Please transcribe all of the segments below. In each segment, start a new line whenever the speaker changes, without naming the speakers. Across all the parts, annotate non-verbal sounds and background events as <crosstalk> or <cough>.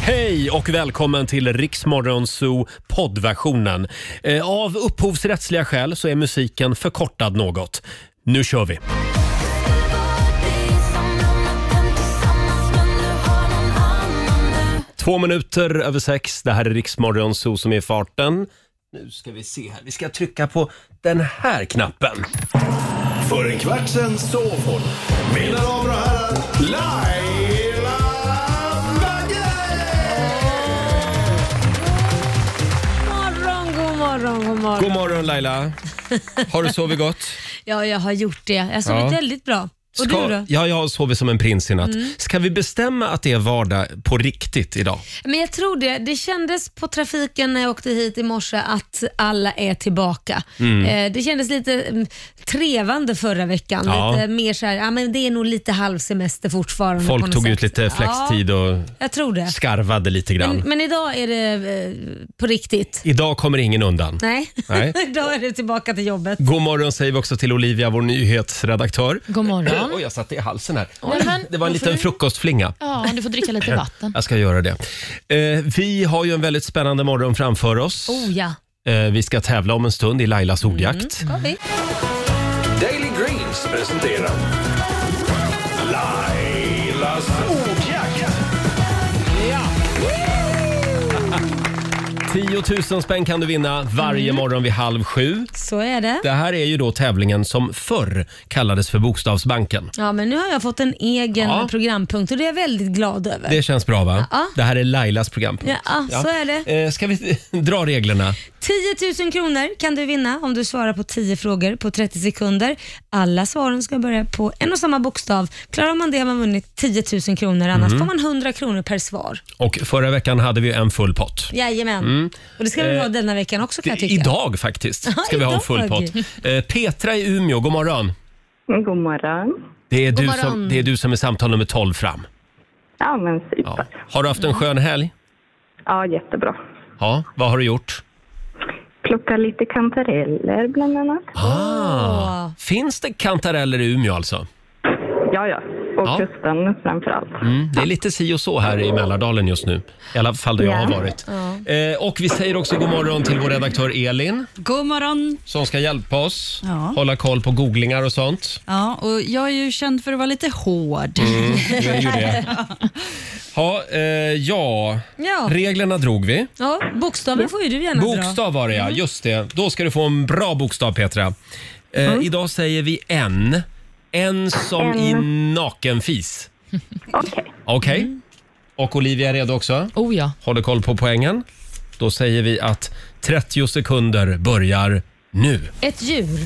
Hej och välkommen till Riksmorgon Zoo poddversionen. Eh, Av upphovsrättsliga skäl så är musiken förkortad något. Nu kör vi! Två minuter över sex. Det här är Riksmorgon Zoo som är i farten. Nu ska vi se här. Vi ska trycka på den här knappen.
För en kvart sen sov hon. Mina damer och herrar, Laila Bagge!
morgon, god morgon, god morgon.
God morgon Laila! Har du sovit gott?
Ja, jag har gjort det. Jag har sovit
Ja.
väldigt bra. <laughs> Och
Ska-
du då? Mm.
Ja, jag har sovit som en prins i natt. Ska vi bestämma att det är vardag på riktigt idag?
Men jag tror det. Det kändes på trafiken när jag åkte hit i morse att alla är tillbaka.
Mm.
Eh, Det kändes lite mm, trevande förra veckan.
Ja.
Lite mer så här, ja, men det är nog lite halvsemester fortfarande. på
Folk
något
tog
sätt.
ut lite flextid
Ja,
och
jag tror det.
skarvade lite
Men,
grann.
men idag är det eh, på riktigt.
Idag kommer ingen undan.
Nej,
Nej.
<laughs> idag är det tillbaka till jobbet.
God morgon säger vi också till Olivia, vår nyhetsredaktör.
God morgon.
<clears throat>
Oj, jag satte i halsen här.
Nej, men,
Det var en
då får
liten
du-
frukostflinga.
Ja, du får dricka lite vatten.
Jag ska göra det. Eh, vi har ju en väldigt spännande morgon framför oss.
Oh ja,
Eh, vi ska tävla om en stund i Lailas ordjakt.
Mm.
ska vi?
Daily Greens presenterar Lailas ordjakt.
10 000 spänn kan du vinna varje
Mm.
morgon vid halv sju.
Så är det.
Det här är ju då tävlingen som förr kallades för Bokstavsbanken.
Ja, men nu har jag fått en egen
Ja.
programpunkt och det är jag väldigt glad över.
Det känns bra va?
Ja.
Det här är Lailas programpunkt.
Ja, så är det.
Eh, ska vi <laughs> dra reglerna?
10 000 kronor kan du vinna om du svarar på 10 frågor på 30 sekunder. Alla svaren ska börja på en och samma bokstav. Klarar man det har man vunnit 10 000 kronor, annars
Mm.
får man 100 kronor per svar.
Och förra veckan hade vi en full pott.
Jajamän.
Mm.
Och det ska vi ha denna veckan också kan jag tycka.
Eh, Idag faktiskt ska vi ha en full
idag.
pott. Eh, Petra i Umeå, god morgon.
Mm, God morgon.
Det är, du
morgon.
som, det är du som är samtal nummer 12 fram.
Ja, men
Ja.
super. Ja,
Har du haft en skön helg?
jättebra.
Ja, vad har du gjort?
Plocka lite kantareller bland annat.
Ah, finns det kantareller i Umeå alltså?
Ja, ja. Och
Ja.
kusten framför allt.
Mm, det är lite si och så här i Mälardalen just nu. I alla fall där jag
Ja.
har varit. Eh, och vi säger också god morgon till vår redaktör Elin
God morgon!
som ska hjälpa oss
Ja.
hålla koll på googlingar och sånt.
Ja, och jag är ju känd för att vara lite hård.
Du är ju det. Ja, eh, ja.
Ja.
reglerna drog vi.
Ja, bokstaven får ju du gärna dra.
Bokstav var det ja, just det. Då ska du få en bra bokstav Petra. Eh,
Mm.
Idag säger vi en. En som i nakenfis.
Okej.
Okej.
Mm.
Och Olivia är redo också.
Oh ja.
Håller koll på poängen. Då säger vi att 30 sekunder börjar nu.
Ett djur,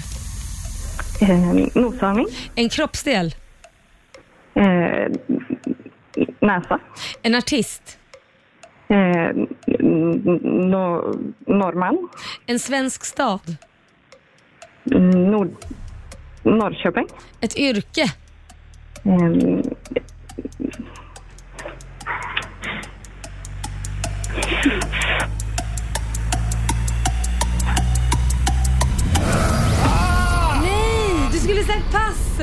Eh, noshörning.
en kroppsdel,
Eh, näsa.
en artist,
Eh, n- no, norrman.
en svensk stad,
Nord, Norrköping.
ett yrke,
Eh,
Nej, du skulle sagt pass!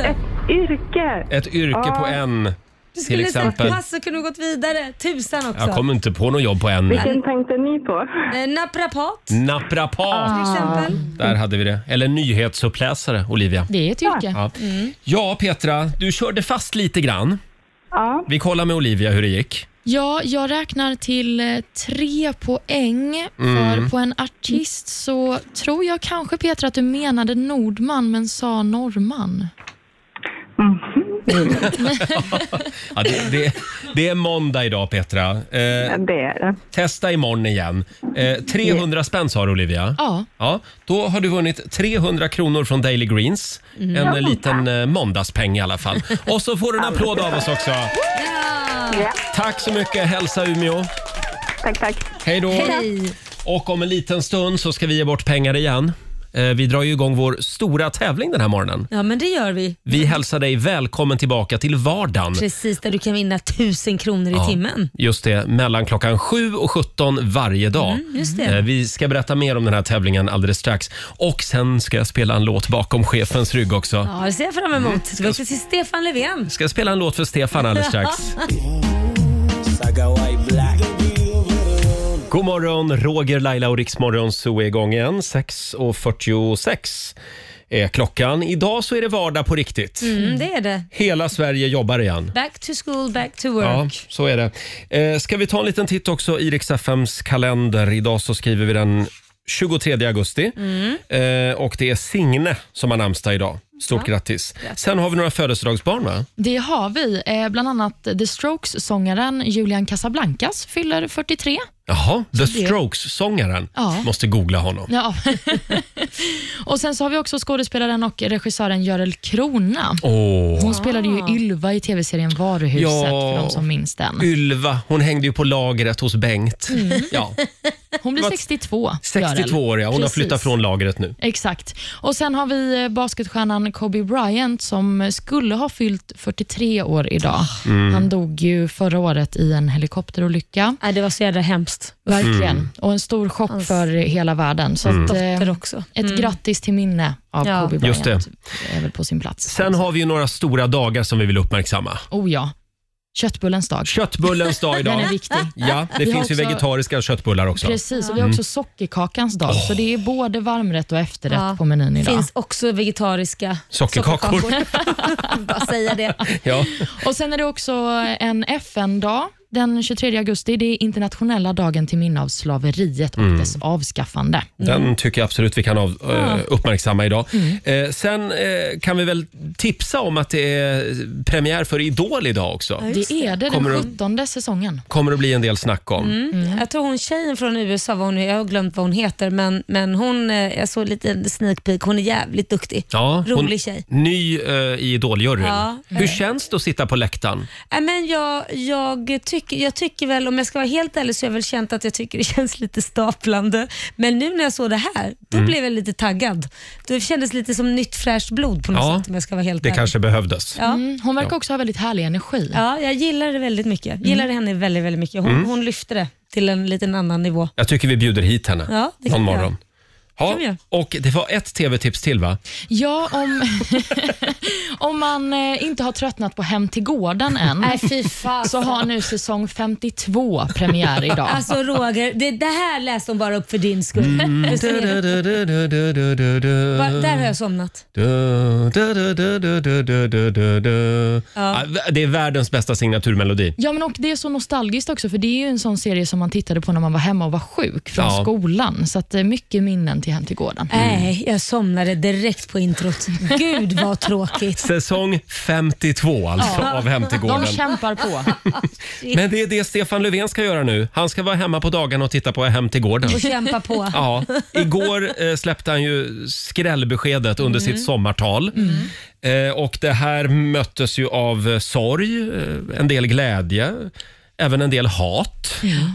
yrke.
Ett yrke
Ja.
på en.
Ah. Du
Till
skulle sagt
exempel.
pass så kunde du gått vidare. Tusan också.
Jag kommer inte på något jobb på en.
Vilken tänkte ni på?
Eh, naprapat till
Naprapat.
Ah. exempel.
Där hade vi det. Eller nyhetsuppläsare, Olivia.
Det är ett yrke.
Ja. ja, Petra, du körde fast lite grann.
Ja,
Vi kollar med Olivia hur det gick.
Ja, jag räknar till eh, tre poäng.
Mm.
För på en artist så tror jag kanske Petra att du menade Nordman men sa norrman.
Ja, det, det, det är måndag idag, Petra. Eh,
det är det.
testa imorgon igen. Eh, 300 spänn sa du, Olivia.
Ja.
Ja, då har du vunnit 300 kronor från Daily Greens. En eh, liten eh, måndagspeng i alla fall. Och så får du en applåd av oss också. Tack så mycket. Hälsa Umeå.
Tack, tack.
Hej då.
Hej.
Och om en liten stund så ska vi ge bort pengar igen. Eh, Vi drar ju igång vår stora tävling den här morgonen.
Ja, men det gör vi.
Vi hälsar dig välkommen tillbaka till vardagen.
Precis där du kan vinna tusen kronor i timmen.
Just det, mellan klockan 7 och 17 varje dag.
Mm, just det.
Eh, Vi ska berätta mer om den här tävlingen alldeles strax. Och sen ska jag spela en låt bakom chefens rygg också.
Ja, det ser jag fram
Mm.
emot. Ska vi också till Stefan Löfven. <laughs>
Ska jag spela en låt för Stefan alldeles strax.
Saga White Black.
God morgon, Roger, Laila och Riksmorgon så är igång igen. 6.46 är klockan. Idag så är det vardag på riktigt.
Mm, det är det.
Hela Sverige jobbar igen.
Back to school, back to
Ja,
work.
så är det. Eh, ska vi ta en liten titt också i Rix FMs kalender? Idag så skriver vi den 23 augusti.
Mm.
Eh, och det är Signe som har namnsdag idag. Stort grattis. Sen har vi några födelsedagsbarn va?
Det har vi. Eh, Bland annat The Strokes-sångaren Julian Casablancas fyller 43.
Jaha, The Strokes-sångaren.
Ja.
Måste googla honom.
Ja. <laughs> och Sen så har vi också skådespelaren och regissören Görel Krona.
Åh,
Hon spelade ju Ylva i tv-serien Varuhuset,
Ja.
för de som minns den.
Ylva, hon hängde ju på lagret hos Bengt.
Mm. <laughs>
Ja,
Hon blir
Vad-
62. Görel.
62 år ja. Hon
Precis.
har flyttat från lagret nu.
Exakt. Och Sen har vi eh, basketstjärnan Kobe Bryant som skulle ha fyllt 43 år idag.
Mm.
Han dog ju förra året i en helikopterolycka.
Nej, det var så jävla hemskt.
Verkligen.
Mm.
Och en stor chock
Hans-
för hela världen. Så att, eh,
Där också.
ett grattis till minne av
Mm. Ja.
Kobe
Just
Bryant
det.
är väl på sin plats.
Sen har vi ju några stora dagar som vi vill uppmärksamma.
Oh ja. Köttbullens dag.
Köttbullens dag
<laughs> Den
idag.
är viktig.
Ja, Mm. det
Vi har
finns ju
också-
vegetariska köttbullar också.
Precis, och vi har också sockerkakans dag. Så det är både varmrätt och efterrätt
Ja.
på menyn idag.
finns också vegetariska
Sockerkakor.
sockerkakor. <laughs> Bara säga det.
Ja.
Och Sen är det också en FN-dag. Den 23 augusti det är internationella dagen till minne av slaveriet och dess avskaffande.
Mm.
Den tycker jag absolut vi kan av, eh, uppmärksamma idag. Eh, sen eh, kan vi väl tipsa om att det är premiär för Idol idag också.
just
Det är det,
Kommer du-
den 17 säsongen.
kommer det bli en del snack om.
Mm. Jag tror hon tjejen från USA, vad hon, är- jag har glömt vad hon heter, men, men hon, eh, jag såg lite en sneak peek, hon är jävligt duktig.
Ja, hon-
Rolig tjej.
Ny eh, i Idoljuryn.
Ja. eh.
Hur känns det att sitta på läktaren?
Nej, Äh, men jag, jag, tycker, jag tycker väl, om jag ska vara helt ärlig, så har jag väl känt att jag tycker det <laughs> känns lite staplande. Men nu när jag såg det här, då
Mm.
blev jag lite taggad. Det kändes lite som nytt fräscht blod på något
Ja,
sätt om jag ska vara helt
Det
ärlig.
kanske behövdes.
Eh. Ja.
Mm. Hon verkar också ha väldigt härlig energi.
Ja, jag gillade det väldigt mycket.
Mm.
Gillade henne väldigt, väldigt mycket. Hon, hon lyfte det till en liten annan nivå.
Jag tycker vi bjuder hit henne
Ja, det kan vi
någon
göra.
morgon. Ja,
kan vi göra.
och det var ett tv-tips till va?
Ja,
<laughs>
om, om man eh, inte har tröttnat på Hem
<laughs>
till gården än,
fy fan.
så har nu säsong 52 premiär idag.
<laughs> Alltså Roger, det, det här läste hon bara upp för din skull.
Mm.
<laughs> Förstår ni? Va, där har jag somnat.
Ja, Ah, Det är världens bästa signaturmelodi.
Ja, men och det är så nostalgiskt också, för det är ju en sån serie som man tittade på när man var hemma och var sjuk från
Ja.
skolan. Så att, eh, mycket minnen till Hem till gården.
Mm.
Nej, jag somnade direkt på introt. Gud vad tråkigt.
Säsong 52 alltså av Hem till gården.
De kämpar på.
<laughs> Men det är det Stefan Löfven ska göra nu. Han ska vara hemma på dagarna och titta på Hem till gården.
Och kämpa på.
Ja, igår eh, släppte han ju skrällbeskedet under sitt sommartal. Eh, och det här möttes ju av eh, sorg, eh, en del glädje, även en del hat.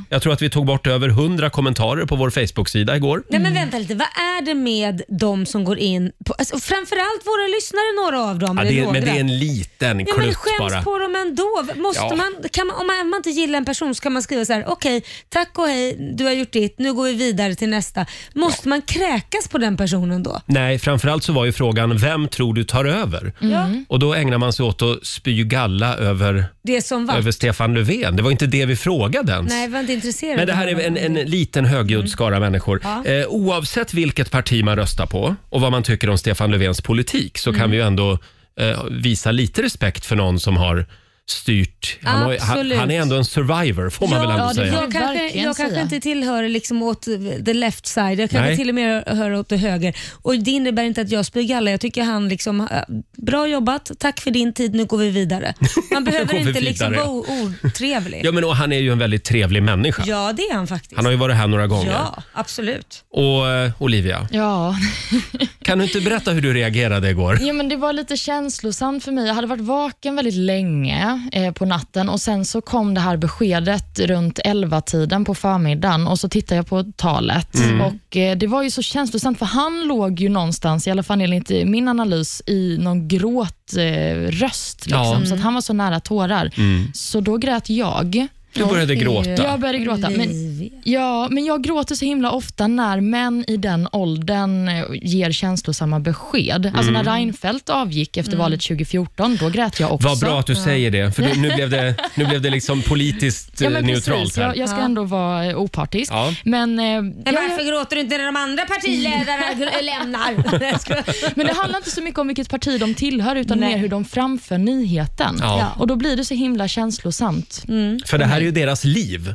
Jag tror att vi tog bort över 100 kommentarer på vår Facebook-sida igår.
Nej men vänta lite, vad är det med de som går in på, alltså, framförallt våra lyssnare, några av dem.
Ja,
eller
det är,
några.
men det är en liten
Ja, men
klutt
skäms
bara.
på dem ändå. Måste
Ja.
man, kan man, om man, om man inte gillar en person så kan man skriva så här: okej, tack och hej, du har gjort ditt, nu går vi vidare till nästa. Måste man kräkas på den personen då?
Nej, framförallt så var ju frågan vem tror du tar över?
Mm. Ja,
Och då ägnar man sig åt att spy galla över,
det som var.
över Stefan Löfven. Det var inte det vi frågade ens.
Nej, var inte intresserad.
Men det här
av
är en,
honom.
en liten högljudd skara människor.
Mm. Ja.
Eh, oavsett vilket parti man röstar på och vad man tycker om Stefan Löfvens politik så
Mm.
kan vi ju ändå eh, visa lite respekt för någon som har styrt. Han, har, ju- han,
Absolut.
han är ändå en survivor får man väl ändå
ja, det får
säga.
man
Jag kanske,
verkligen
jag kanske
säga.
inte tillhör liksom åt the left side, jag kanske
Nej.
till och med hör åt det höger. Och det innebär inte att jag spyr galla. Jag tycker han liksom, eh, bra jobbat, tack för din tid, nu går vi vidare.
<laughs>
Man behöver
går vi
inte liksom
vidare.
vara o- otrevlig.
Ja, men, och han är ju en väldigt trevlig människa.
Ja, det är han faktiskt.
Han har ju varit här några gånger.
Ja, absolut.
Och eh, Olivia,
Ja.
kan du inte berätta hur du reagerade igår?
ja, men det var lite känslosamt för mig. Jag hade varit vaken väldigt länge eh, på natten och sen så kom det här beskedet runt 11-tiden på förmiddagen och så tittade jag på talet. Och eh, Det var ju så känslosamt för han låg ju någonstans, i alla fall enligt eh, min analys, i någon gråtröst. Eh, röst,
Ja.
liksom, Så att han var så nära tårar. Så då grät jag.
Du började gråta.
Jag började gråta. Men,
Olivia.
ja, men jag gråter så himla ofta när män i den åldern eh, ger känslosamma besked.
Mm.
Alltså när Reinfeldt avgick efter valet 2014, då grät jag också.
Vad bra att du säger det, för du, nu, blev det, nu blev det liksom politiskt
Ja,
eh,
men
neutralt
precis.
här.
Jag, jag ska ändå vara eh, opartisk.
Ja.
Men, eh,
Men
jag-
varför gråter du inte när de andra
<laughs>
partiledarna gr- lämnar? <laughs> Jag ska-
Men det handlar inte så mycket om vilket parti de tillhör, utan
Nej.
mer hur de framför nyheten.
Ja.
Och Då blir det så himla känslosamt.
För det här är ju deras liv.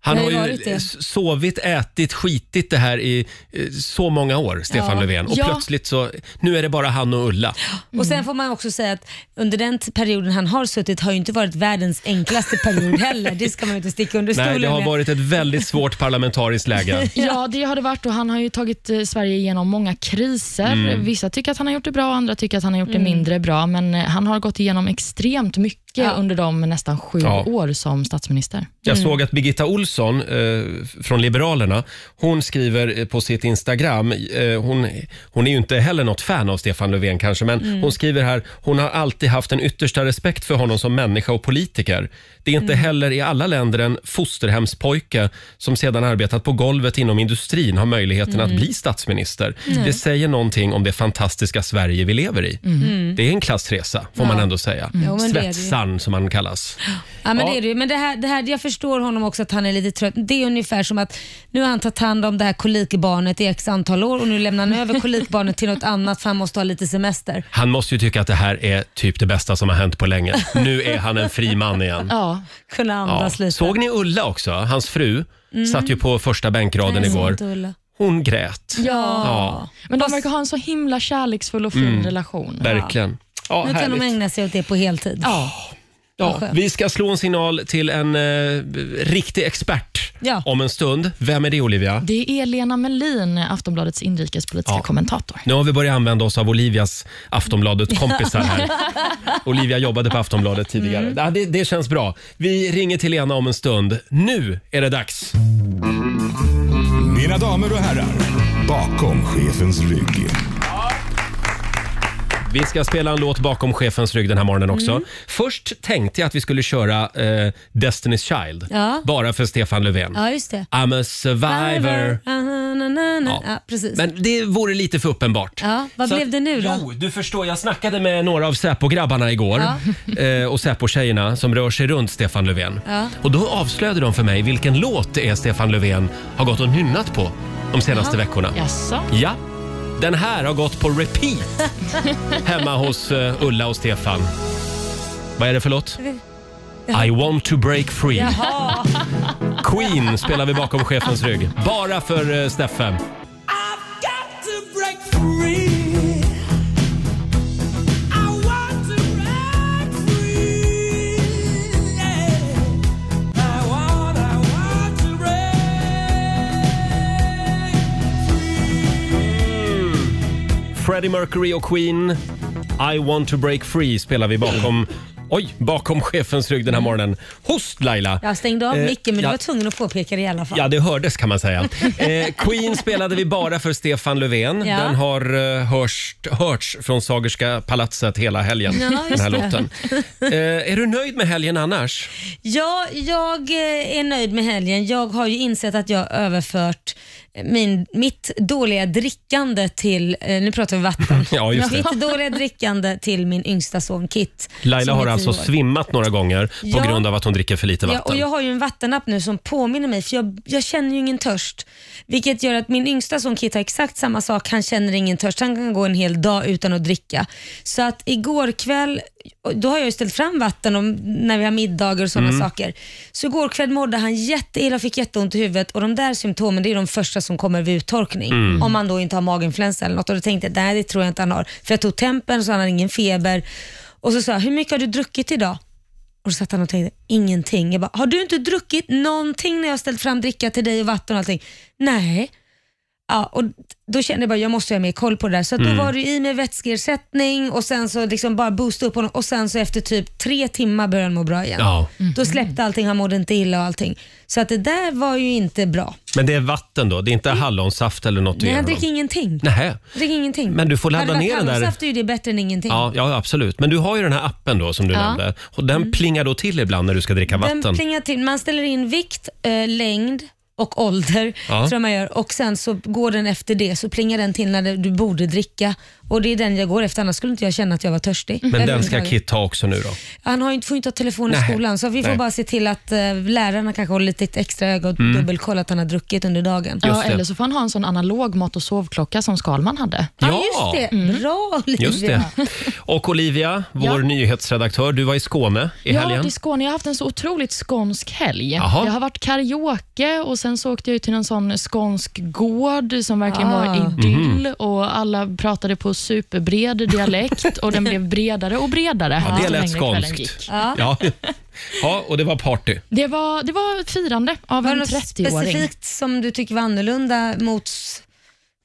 Han
det
har
har ju
ju
varit det.
sovit, ätit, skitit det här i eh, så många år, Stefan
Ja.
Löfven. Och
Ja.
plötsligt så, nu är det bara han och Ulla.
Mm.
Och sen får man också säga att under den t- perioden han har suttit har ju inte varit världens enklaste period heller. Det ska man ju inte sticka under stolen
Nej, det har
med.
varit ett väldigt svårt parlamentariskt
<laughs>
läge.
Ja, det har det varit och han har ju tagit eh, Sverige igenom många kriser. Vissa tycker att han har gjort det bra, andra tycker att han har gjort det mindre bra. Men eh, han har gått igenom extremt mycket
Ja.
under de nästan sju
Ja.
år som statsminister.
Jag
Mm.
såg att Birgitta Olsson eh, från Liberalerna, hon skriver eh, på sitt Instagram, eh, hon, hon är ju inte heller något fan av Stefan Löfven kanske, men
Mm.
hon skriver här, hon har alltid haft en yttersta respekt för honom som människa och politiker. Det är inte
Mm.
heller i alla länder en fosterhemspojke som sedan arbetat på golvet inom industrin har möjligheten
Mm.
att bli statsminister. Det säger någonting om det fantastiska Sverige vi lever i. Det är en klassresa, får man ändå säga.
Mm. Jo, men det är det ju.
Svetsan som han kallas.
Ja, men
Ja.
Det är det. ju. Men det här, det här, jag förstår honom också att han är lite trött. Det är ungefär som att nu har han tagit hand om det här kolikbarnet i x antal år och nu lämnar han över kolikbarnet till något annat för han måste ha lite semester.
Han måste ju tycka att det här är typ det bästa som har hänt
<laughs>
på länge. Nu är han en fri man igen.
Ja,
Kunna
Ja.
andas lite.
Såg ni Ulla också? Hans fru
Mm.
satt ju på första bänkraden
Nej,
igår.
sånt, Ulla.
Hon grät.
ja.
Ja,
men de verkar ha en så himla kärleksfull och fin relation.
verkligen. Ja,
Nu kan de
härligt.
ägna sig åt det på heltid.
Ja.
Ja,
skönt.
vi ska slå en signal till en eh, riktig expert
Ja.
om en stund. Vem är det Olivia?
Det är Lena Melin, eh, Aftonbladets inrikespolitiska
Ja.
kommentator.
Nu har vi börjat använda oss av Olivias
<laughs>
Aftonbladet-kompisar här. Olivia jobbade på Aftonbladet tidigare.
Mm.
Ja, det, det känns bra. Vi ringer till Lena om en stund. Nu är det dags!
Mina damer och herrar, bakom chefens rygg.
Vi ska spela en låt bakom chefens rygg den här morgonen också.
Mm.
Först tänkte jag att vi skulle köra eh, Destiny's Child,
Ja.
bara för Stefan Löfven.
Ja, just det.
I'm a survivor.
Ah, na, na, na.
Ja.
Ja, precis.
Men det vore lite för uppenbart.
Ja, vad
Så
blev
att-
det nu då?
Jo, du förstår, jag snackade med några av Säpo-grabbarna igår <laughs> eh, och Säpo-tjejerna som rör sig runt Stefan Löfven.
Ja.
Och då avslöjade de för mig vilken låt det är Stefan Löfven har gått och nynnat på de senaste veckorna.
Jaså?
Ja, den här har gått på <laughs> repeat hemma hos eh, Ulla och Stefan. Vad är det för låt? I want to break free. <laughs> Queen spelar vi bakom chefens rygg. Bara för eh, Steffe. Freddie Mercury och Queen. I want to break free spelar vi bakom Oj, bakom chefens rygg den här morgonen. Host Laila!
Jag stängde av
Eh,
micken men du
ja.
var tvungen att påpeka det i alla fall.
Ja, det hördes kan
<laughs>
man säga. Eh, Queen spelade vi bara för Stefan Löfven.
Ja.
Den har eh, hörst, hörts från Sagerska palatset hela helgen. den här låten. Eh, är du nöjd med helgen annars?
Ja, jag eh, är nöjd med helgen. Jag har ju insett att jag har överfört eh, min, mitt dåliga drickande till, eh, nu pratar vi vatten,
<laughs> Ja, just det.
mitt dåliga drickande till min yngsta son Kit.
Laila
som är
har
tio
alltså
år.
svimmat några gånger
Ja.
på grund av att hon dricker för lite
Ja, och
vatten.
jag har ju en vattenapp nu som påminner mig för jag, jag känner ju ingen törst. Vilket gör att min yngsta son Kit har exakt samma sak. Han känner ingen törst. Han kan gå en hel dag utan att dricka. Så att igår kväll, och då har jag ju ställt fram vatten om, när vi har middagar och
Mm.
sådana saker. Så igår kväll mådde han jätteilla och fick jätteont i huvudet och de där symptomen det är de första som kommer vid uttorkning.
Mm.
Om man då inte har maginfluensa eller något. Och då tänkte jag, nej det tror jag inte han har. För jag tog tempen så han har ingen feber. Och så sa jag, hur mycket har du druckit idag? Och så satt han och tänkte, ingenting. Jag bara, har du inte druckit någonting när jag ställt fram dricka till dig och vatten och allting? Nej. Ja, och då kände jag bara jag måste ha mer koll på det där. Så att
Mm.
då var det ju i med vätskeersättning och sen så liksom bara boosta upp honom och sen så efter typ tre timmar började han må bra igen.
Ja.
Då släppte allting, han mådde inte illa och allting. Så att det där var ju inte bra.
Men det är vatten då? Det är inte hallonsaft eller något
Mm.
du
Nej,
ger
han
honom?
dricker ingenting.
Nähä.
Drick ingenting.
Men du får ladda
Hade det varit
ner den där-
hallonsaft är ju det bättre än ingenting.
Ja, ja, absolut. Men du har ju den här appen då som du
Ja.
nämnde. Och den plingar då till ibland när du ska dricka vatten.
Mm. Den plingar till. Man ställer in vikt, eh, längd och ålder
Ja.
tror jag man gör och sen så går den efter det så plingar den till när det- du borde dricka och det är den jag går efter annars skulle inte jag känna att jag var törstig.
Men den ska
Överhuvudtaget.
Kit ta också nu då.
Han har ju inte, får ju inte ha telefon i
Nej.
skolan så vi får
Nej. Mm.
bara se till att eh, lärarna kanske håller lite extra öga och dubbelkolla att han har druckit under dagen.
Ja,
Just det.
eller så får han ha en sån analog mat och sovklocka som Skalman hade.
Ja, just det.
Mm.
Bra Olivia.
Just det. <laughs> Och Olivia, vår
Ja.
nyhetsredaktör, du var i Skåne i
Ja,
helgen.
till Skåne. Jag har haft en så otroligt skånsk helg.
Jaha.
Jag har varit karaoke och sen så åkte jag ut till en sån skånsk gård som verkligen
Ah.
var
Mhm.
idyll och alla pratade på superbred dialekt
<laughs>
och den blev bredare och bredare.
Ja, det
ju
lät
längre kvällen
skånskt.
gick.
Ja. Ja. <laughs> och det var party.
Det var, det var ett firande av
Var det
en
något
30-åring.
specifikt som du tycker var annorlunda mot s-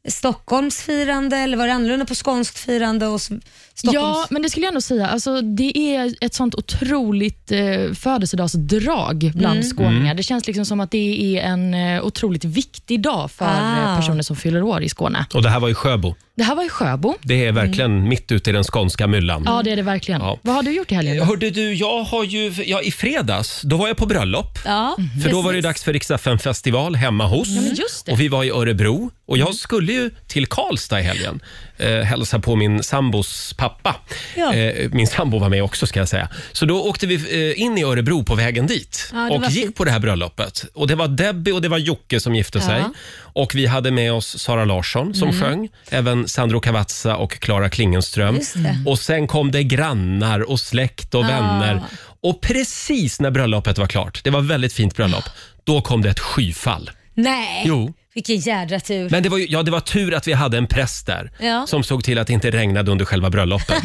Stockholms firande eller var det annorlunda på skånskt firande och s- Stockholms?
Ja, men det skulle jag ändå säga. Alltså, det är ett sånt otroligt eh, födelsedagsdrag bland
Mm.
skåningar.
Mm.
Det känns liksom som att det är en eh, otroligt viktig dag för
Ah.
eh, personer som fyller år i Skåne.
Och det här var i Sjöbo.
Det här var i Sjöbo.
Det är verkligen mitt ute i den skånska myllan.
Mm. Ja, det är det verkligen.
Ja.
Vad har du gjort i helgen?
Eh, Hörde du, jag har ju... Ja, I fredags, då var jag på bröllop.
Ja,
För då var det ju dags för Rix FM festival hemma hos.
men just det.
Och vi var i Örebro. Och
Mm.
jag skulle ju till Karlstad i helgen. Eh, hälsa på min sambos pappa.
Ja.
Eh, min sambo var med också ska jag säga. Så då åkte vi eh, in i Örebro på vägen dit.
Ja, det
och
var
gick
fint.
på det här bröllopet. Och det var Debbie och det var Jocke som gifte sig. Och vi hade med oss Sara Larsson som
Mm.
sjöng. Även Sandro Cavazza och Clara Klingenström.
Just det. Ah.
Och sen kom det grannar och släkt och vänner. Och precis när bröllopet var klart, det var väldigt fint bröllop, då kom det ett skyfall.
Nej,
Jo.
vilken jädra tur.
Men det var, ju, ja, det var tur att vi hade en präst där
Ja.
som såg till att det inte regnade under
<laughs>
själva bröllopet.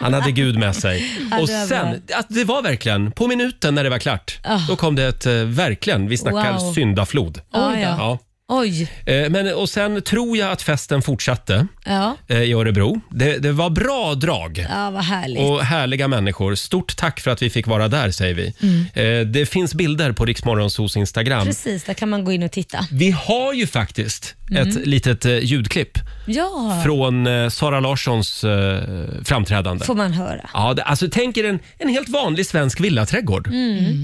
Han hade Gud med sig.
Ja,
Och
det var Ah.
sen, att det var verkligen på minuten när det var klart, då kom det ett, eh, verkligen, vi snackar
Wow. Ah,
syndaflod.
Oj då.
Ja.
Oj.
Eh, Men, och sen tror jag att festen fortsatte
Ja.
eh, i Örebro. Det, det var bra drag.
ja, vad härligt.
Och härliga människor. Stort tack för att vi fick vara där, säger vi. Eh, det finns bilder på Riksmorgonsos Instagram.
Mm. Precis, där kan man gå in och titta.
Vi har ju faktiskt ett litet eh, ljudklipp
Mm. Ja,
från eh, Sara Larssons eh, framträdande.
får man höra.
Ja, det, alltså tänk er en, en helt vanlig svensk villaträdgård.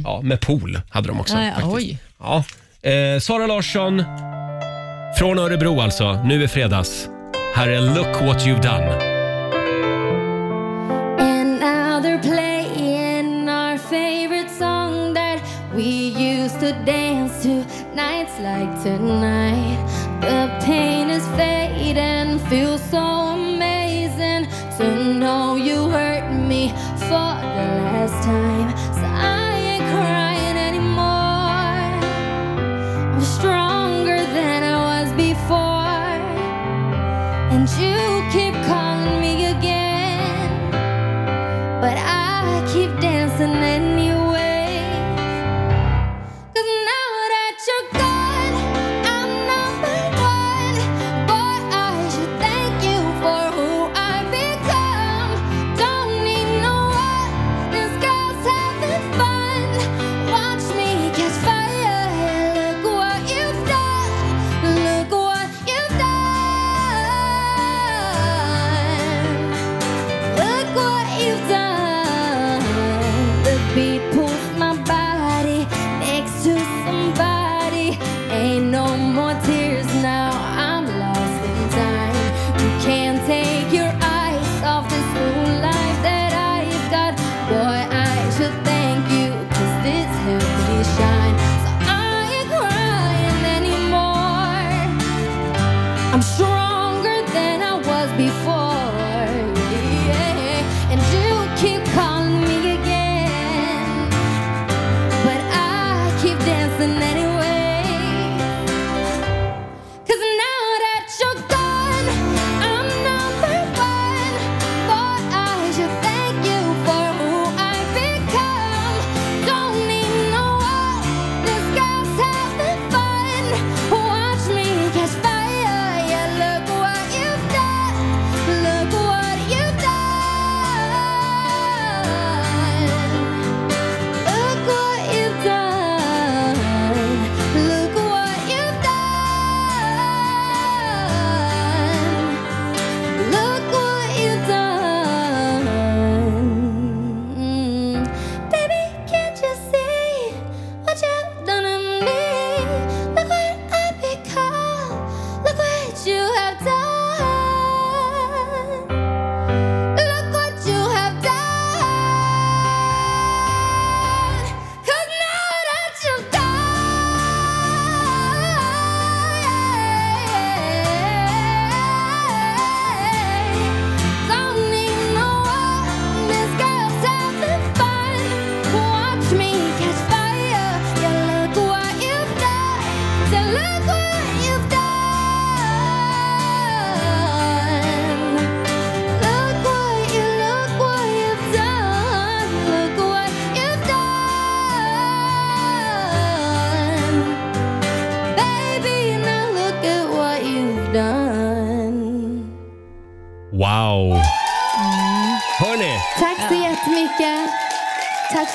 Ja, med pool hade de också.
Ja, ja.
faktiskt.
Oj.
Ja. Eh, Sara Larsson från Örebro alltså. Nu är fredags. Här är Look what you've done.
And now they're playing our favorite song that we used to dance to nights like tonight. The pain is fading, feels so amazing to know you hurt me for the last time. So I ain't crying anymore. I'm stronger than I was before. And you keep calling me again. But I keep dancing anyway. Cause now that you're gone, I'm number one. Boy, I should thank you for who I've become. Don't need no one. This girl's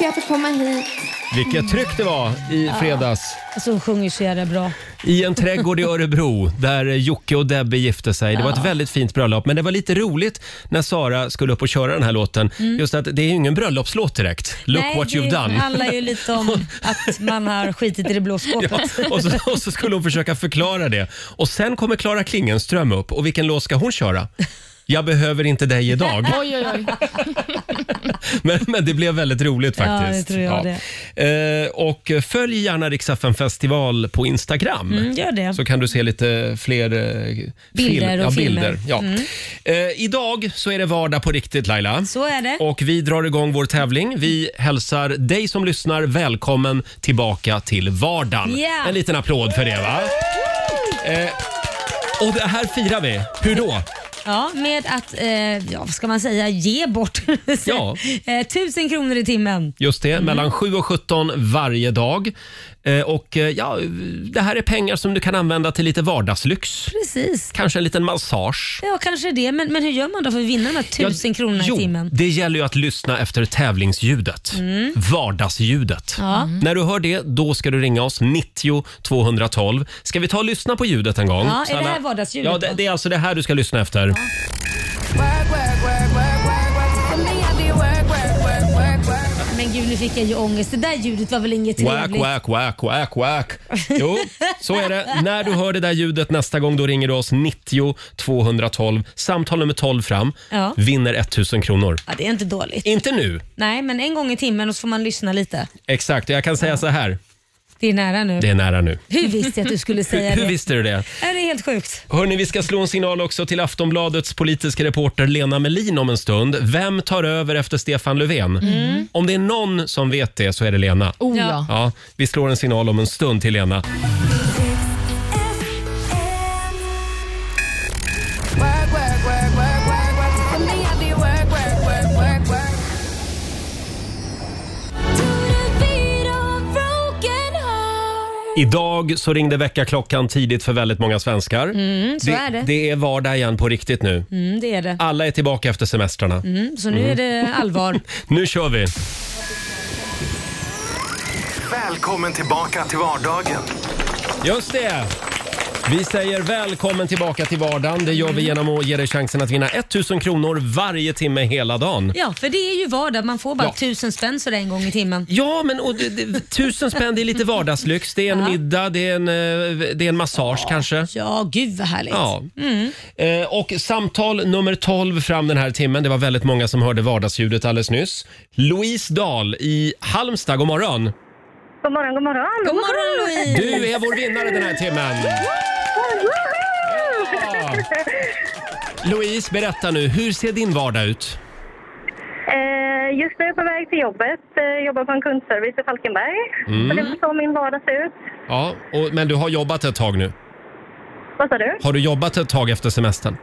jag får komma hit.
Vilket tryck det var i fredags.
Alltså hon sjunger ju så jävla bra.
I en trädgård i Örebro där Jocke och Debbie gifte sig. Det var ett väldigt fint bröllop. Men det var lite roligt när Sara skulle upp och köra den här låten. Just att det är ju ingen bröllopslåt direkt. Look
Mm. Nej,
what
det
you've done.
handlar ju lite om att man har skitit i det blå skåpet.
Ja, <laughs> och, så, och så skulle hon försöka förklara det. Och sen kommer Klara Klingenström upp och vilken låt ska hon köra? Jag behöver inte dig idag.
Oj, oj, oj.
<laughs> Men, men det blev väldigt roligt
Ja, det
faktiskt.
tror jag
Eh, och följ gärna Riksdagen festival på Instagram.
Mm, gör det.
Så kan du se lite fler eh,
Bilder och
ja,
filmer. Mm.
bilder. Ja. Eh, idag så är det vardag på riktigt Laila.
Så är det.
Och vi drar igång vår tävling. Vi hälsar dig som lyssnar välkommen tillbaka till vardagen.
Ja.
En liten applåd för det va? Eh, och det här firar vi. Hur då?
Ja, med att, eh, ja, vad ska man säga, ge bort <laughs>
Ja.
eh, tusen kronor i timmen.
Just det, mellan 7 och 17 varje dag. Eh, och eh, ja, det här är pengar som du kan använda till lite vardagslyx.
Precis.
Kanske en liten massage.
Ja, kanske det. Men, men hur gör man då för att vinna de här tusen kronorna
jo,
i timmen? Mm.
Det gäller ju att lyssna efter tävlingsljudet. Vardagsljudet. När du hör det, då ska du ringa oss 90 212. Ska vi ta och lyssna på ljudet en gång?
Ja, är
Så
det här
alla-
vardagsljudet
Ja, det,
då?
det är alltså det här du ska lyssna efter.
Men gud, nu fick jag ju ångest. Det där ljudet var väl inget
Whack,
trevligt?
whack, whack, whack, whack. Jo, så är det. När du hör det där ljudet nästa gång, då ringer du oss 90 212. Samtal nummer 12 fram.
Ja.
Vinner 1000 kronor.
Ja, det är inte dåligt.
Inte nu.
Nej, men en gång i timmen och så får man lyssna lite.
Exakt, jag kan säga så här.
Det är nära nu.
Det är nära nu.
Hur visste jag att du skulle säga
Hur, hur
det?
visste du det?
Är det är helt sjukt.
Hörni, vi ska slå en signal också till Aftonbladets politiska reporter Lena Melin om en stund. Vem tar över efter Stefan Löfven?
Mm.
Om det är någon som vet det så är det Lena.
Oh, ja.
Ja, vi slår en signal om en stund till Lena. Idag så ringde väckarklockan tidigt för väldigt många svenskar.
Mm, så
det,
är det.
det är vardag igen på riktigt nu.
Mm, det är det.
Alla är tillbaka efter semestrarna.
Mm, så nu är det
<laughs>
allvar.
Nu kör vi!
Välkommen tillbaka till vardagen.
Just det! Vi säger välkommen tillbaka till vardagen. Det
Mm.
gör vi genom att ge dig chansen att vinna 1000 kronor varje timme hela dagen.
Ja, för det är ju vardag. Man får bara
Ja.
tusen spänn sådär en gång i timmen.
Ja, men och, det, det, tusen spänn det är lite vardagslyx. Det är en middag, det är en, eh, det är en massage kanske.
Ja, gud vad härligt.
Ja. Eh, och samtal nummer 12 fram den här timmen. Det var väldigt många som hörde vardagsljudet alldeles nyss. Louise Dahl i Halmstad, god morgon.
God morgon, god morgon.
God morgon Louise!
Du är vår vinnare den här timmen. Ja. Louise, berätta nu. Hur ser din vardag ut?
Eh, Just nu är jag på väg till jobbet. Eh, Jobbar på en kundservice i Falkenberg.
Mm.
Så det är väl så Mm. min vardag ser ut.
Ja, och, men du har jobbat ett tag nu.
Vad sa du?
Har du jobbat ett tag efter semestern?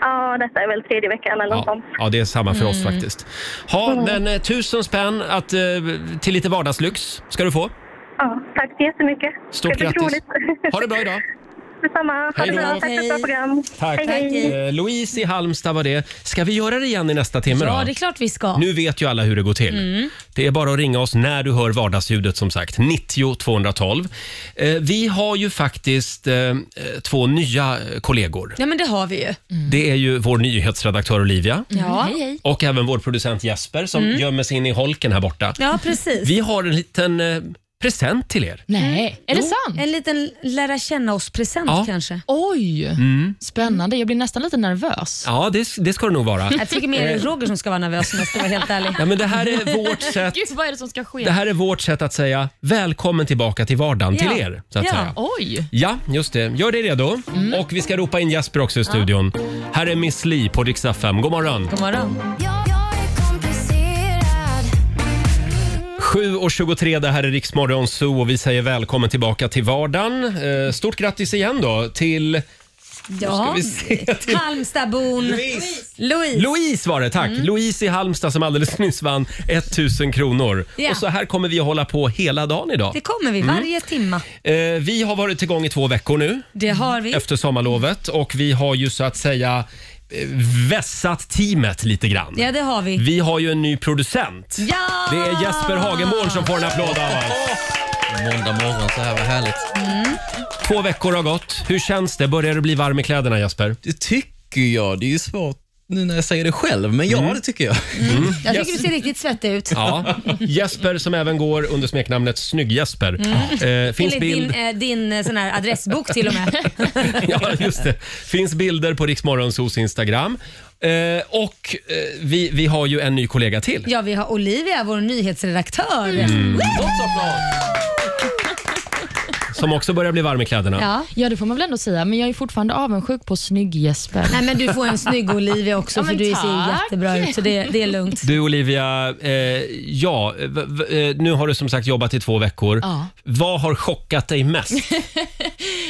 Ja, detta är väl tredje veckan eller något
Ja,
sånt.
ja, det är samma för oss faktiskt. Ja, men eh, tusen spänn att, eh, till lite vardagslyx ska du få.
Ja, tack så jättemycket.
Stort
det blir
grattis.
roligt.
Ha det bra idag.
Detsamma. Ha
Hej
det
då.
bra. Tack för ett bra
Hej.
program.
Tack.
Hej, hej.
Eh, Louise i Halmstad var det. Ska vi göra det igen i nästa timme
Ja,
då?
det är klart vi Mm. ska.
Nu vet ju alla hur det går till. Det är bara att ringa oss när du hör vardagsljudet som sagt. 90 212. Eh, vi har ju faktiskt eh, eh, två nya eh, kollegor.
Ja, men det har vi ju.
Det är ju vår nyhetsredaktör Olivia
Ja,
Mm, Hej, hej.
och även vår producent Jesper som
Mm.
gömmer sig in i holken här borta.
ja precis.
Vi har en liten eh, present till
Mm.
er.
Nej, är det sant?
En liten lära känna oss-present
Ja.
kanske.
Oj, spännande. Jag blir nästan lite nervös.
Mm. Ja, det, det ska det
<laughs>
nog vara.
Jag tycker
<laughs>
mer det är Roger som ska vara nervös om jag ska vara helt ärlig.
Eh. Ja, men det här är vårt sätt
Gud, vad är det som ska ske?
Det här är vårt sätt att säga välkommen tillbaka till vardagen
Ja.
till er. Så att
Ja. Mm.
säga.
Oj.
Ja, just det. Gör dig redo. Och vi ska ropa in Jesper också i studion. Här är Miss Li på Rix FM. God morgon.
God morgon.
7.23, det här är Rix Morgon Zoo och vi säger välkommen tillbaka till vardagen. Eh, Stort grattis igen då till
Ja.
vi se till-
Halmstadbon
Louise.
Louise.
Louise var det, tack.
Mm.
Louise i Halmstad som alldeles nyss vann 1000 kronor.
Ja.
Och så här kommer vi att hålla på hela dagen idag.
Det kommer vi
Mm.
varje timma.
Eh, vi har varit igång i två veckor nu.
Det har vi.
efter sommarlovet och vi har ju så att säga eh, vässat teamet lite grann.
Ja, det har vi.
Vi har ju en ny producent.
Ja!
Det är Jesper Hagenborn som får en applåd av oss.
Måndag morgon, så här var härligt.
Två veckor har gått. Hur känns det? Börjar du bli varm i kläderna Jesper?
Det tycker jag. Det är ju svårt nu när jag säger det själv, men ja,
Mm.
det tycker jag.
Jag tycker du ser riktigt svettig ut.
Ja. Jesper som även går under smeknamnet Snygg-Jesper. Eh, finns
Enligt
bild...
Mm. din, eh, din eh, sån här adressbok till och med.
<laughs> ja, just det. Finns bilder på Riksmorgonsos Instagram. Eh, och eh, vi, vi har ju en ny kollega till.
Ja, vi har Olivia, vår nyhetsredaktör. Mm.
Som också börjar bli varm i kläderna.
Ja.
Ja, det får man väl ändå säga, men jag är fortfarande avundsjuk på snygg-Jesper.
Nej, men du får en snygg Olivia också
Ja,
för
men
du ser
tack.
jättebra ut. Så det, det är lugnt.
Du Olivia, eh, ja, v, v, eh, nu har du som sagt jobbat i två veckor.
Ja.
Vad har chockat dig
<laughs>
mest?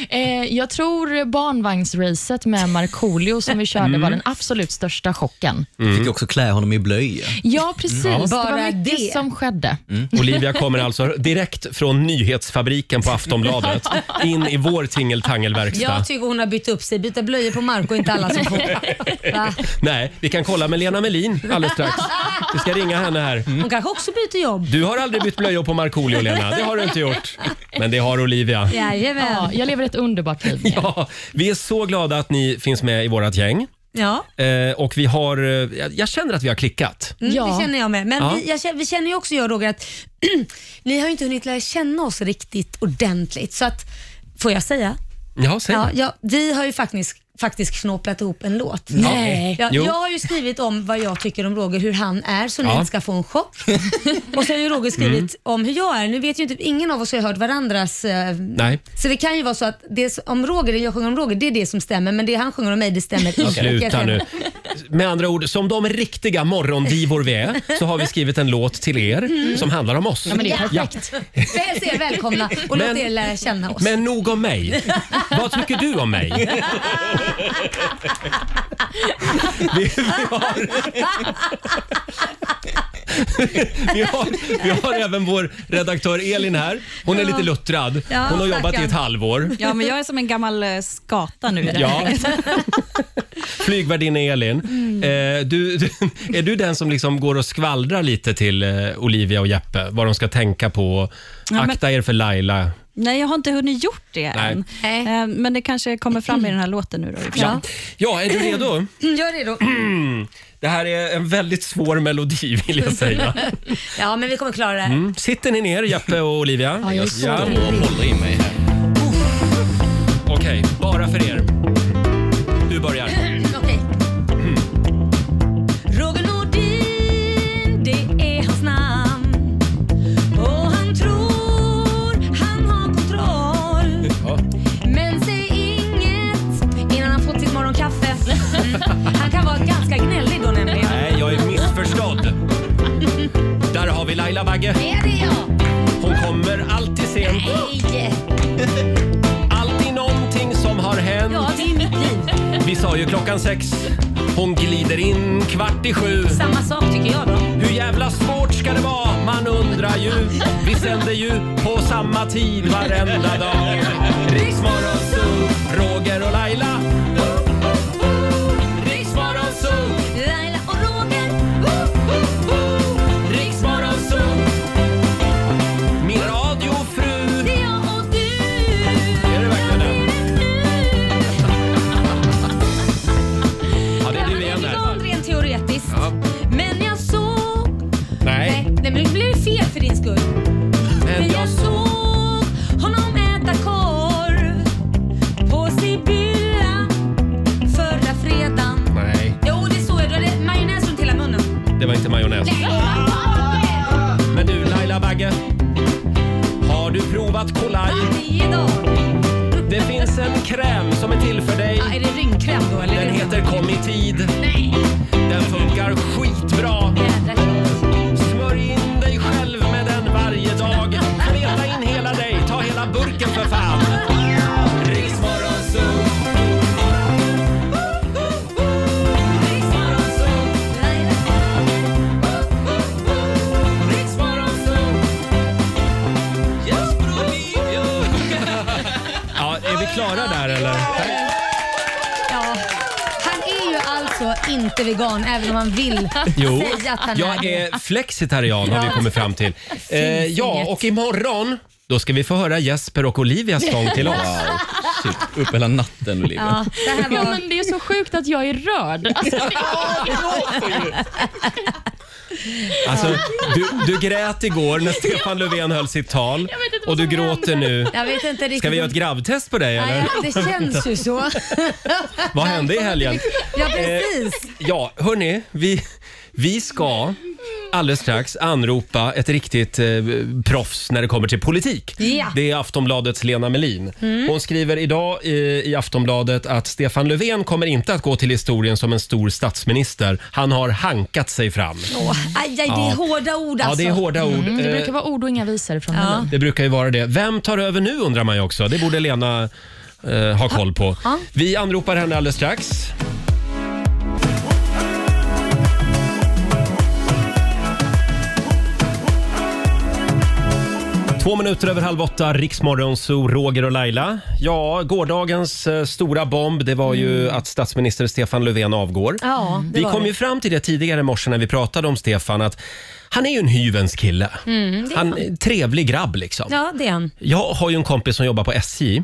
Eh, jag tror barnvagnsracet med Markoolio som vi körde
Mm.
var den absolut största chocken.
Jag fick också klä honom i blöja.
Ja, precis. Det Mm.
Bara
var mycket
det.
som skedde.
Olivia kommer alltså direkt från nyhetsfabriken på
<laughs>
Aftonbladet in i vår tingeltangelverkstad.
Jag tycker hon har bytt upp sig. Byta blöjor på Marco inte alla som får. Va?
typ.
Nej, vi kan kolla med Lena Melin alldeles strax. Vi ska ringa henne här.
Hon kanske också byter jobb.
Du har aldrig bytt blöjor på Markoolio, Lena. Det har du inte gjort. Men det har Olivia.
Ja,
Jajamän.
jag lever ett underbart liv. nu.
Ja, vi är så glada att ni finns med i vårt gäng.
Ja,
Eh, och vi har, eh, jag- jag känner att vi har klickat.
mm,
Ja.
det känner jag med. Men
Ja.
vi, jag, känner- vi känner ju också, jag och Roger, att <clears throat> ni har ju inte hunnit lära känna oss riktigt ordentligt. Så att, får jag säga?
Ja, säg
Ja, ja, vi har ju faktiskt, faktiskt knåplat ihop en låt.
Nej.
Ja,
Jo.
jag har ju skrivit om vad jag tycker om Roger, hur han är så ni
Ja. Mm.
inte ska få en
<laughs>
chock. och så har ju Roger skrivit om hur jag är. Nu vet ju inte, ingen av oss har ju hört varandras... Eh,
Nej,
så det kan ju vara så att det som- om Roger, det jag sjunger om Roger, det är det som stämmer. Men det han sjunger om mig, det stämmer inte. Jag
sluta
kan-
nu. Med andra ord, som de riktiga morgondivor vi är så har vi skrivit en låt till er som handlar om oss.
Mm. men det är
Ja.
Väl se er välkomna och
Men-
låt er lära känna oss.
Men nog om mig. Vad tycker du om mig? Vi, vi, har, vi, har, vi har även vår redaktör Elin här. Hon är lite luttrad.
Ja,
Hon har jobbat i
stackarn.
ett halvår.
Ja, men jag är som en gammal eh, skata nu. i det här
Ja.
läget.
Flygvärdinna Elin,
Mm.
eh, du, du, är du den som liksom går och skvallrar lite till eh, Olivia och Jeppe vad de ska tänka på?
men-
Akta er för Laila.
Nej, jag har inte hunnit gjort det
Nej.
än.
Nej.
Eh, Men det kanske kommer fram i den här låten nu. Då, i och för sig.
Ja.
Ja, är du redo?
Mm, Gör det då.
Det här är en väldigt svår melodi vill jag säga.
Ja, men vi kommer klara det här.
Mm. Sitter ni ner, Jeppe och Olivia?
Ja, jag är så
Och håller i mig här.
Okej, bara för er. Du börjar.
Okej. Roger Nordin, det är hans namn. Och han tror han har kontroll. Men säg inget innan han fått sitt morgonkaffe. Mm. Han kan vara ganska gnällig då nämligen.
Nej, jag är missförstådd. Där har vi Laila Bagge.
Är det jag?
Hon kommer alltid sent.
Nej!
Alltid någonting som har hänt.
Ja, det är mitt liv.
Vi sa ju klockan sex. Hon glider in kvart i sju.
Samma sak tycker jag då.
Hur jävla svårt ska det vara? Man undrar ju. Vi sänder ju på samma tid varenda dag. Riksmorgon Zoo, Roger och Laila. Riksmorgon Zoo,
Laila och Roger. Woo, woo, woo.
Riksmorgon Zoo. Min radiofru.
Det är jag och du.
Är det verkligen den? Ja,
Ja,
det är
men
du
det är
igen
lite
där.
om rent teoretiskt. Men jag såg... Nej,
Nej,
nej men nu blir det fel för din skull.
men
Men
jag...
jag såg honom äta korv på Sibylla förra fredagen.
Nej,
Jo, det såg jag. Du hade majonnäs runt hela munnen.
det var inte majonnäs.
Nej, vad fan!
Men du Laila Bagge, har du provat Kolaj?
Varje dag.
Det finns en kräm som är till för dig.
Ja, Är det rynkräm då eller?
Den heter Kom i tid.
Nej,
Den funkar skitbra.
jädra kul.
Smörj in dig själv med den varje dag. Kleta in hela dig, ta hela burken för fan. Riksmorgon Zoo.
Laila.
Ja, är vi klara där eller?
Ja. Han är ju alltså alltså inte vegan även om han vill
<laughs> Jo,
säga att han är
jag
det.
är flexitarian har vi
Ja.
kommit
<laughs>
fram till. Eh, ja,
inget.
och imorgon då ska vi få höra Jesper och Olivias sång till oss.
Typ upp hela natten, Olivia.
Ja, det här
Ja,
var...
men det är så sjukt att jag är rörd. Alltså,
Alltså, du, du grät igår när Stefan Löfven höll sitt tal
vet inte vad
och du
som
gråter nu.
Jag vet inte riktigt.
Ska vi göra ett gravtest på dig eller?
Nej, det känns ju
<laughs>
så.
Vad hände i helgen? Eh,
Ja, precis.
Ja, hörni, vi, vi ska alldeles strax anropa ett riktigt eh, proffs när det kommer till politik.
Ja. Mm.
Det är Aftonbladets Lena Melin. Hon skriver idag i, i Aftonbladet att Stefan Löfven kommer inte att gå till historien som en stor statsminister. Han har hankat sig fram.
Åh, aj, aj, det är hårda ord
Ja,
alltså.
det är hårda ord.
det
Eh,
brukar vara ord och inga visor från
Ja.
Melin.
det brukar ju vara det. Vem tar över nu undrar man ju också. Det borde Lena eh, ha koll på.
Ja.
Vi anropar henne alldeles strax. Två minuter över halv åtta, Riksmorgon, så Roger och Laila. Ja, gårdagens eh, stora bomb, det var ju
Mm.
att statsminister Stefan Löfven avgår.
Ja, det
Vi
var
kom
det.
ju fram till det tidigare i morse när vi pratade om Stefan att han är ju en hyvens kille.
Mm,
han är en trevlig grabb liksom.
Ja, det är han.
Jag har ju en kompis som jobbar på SJ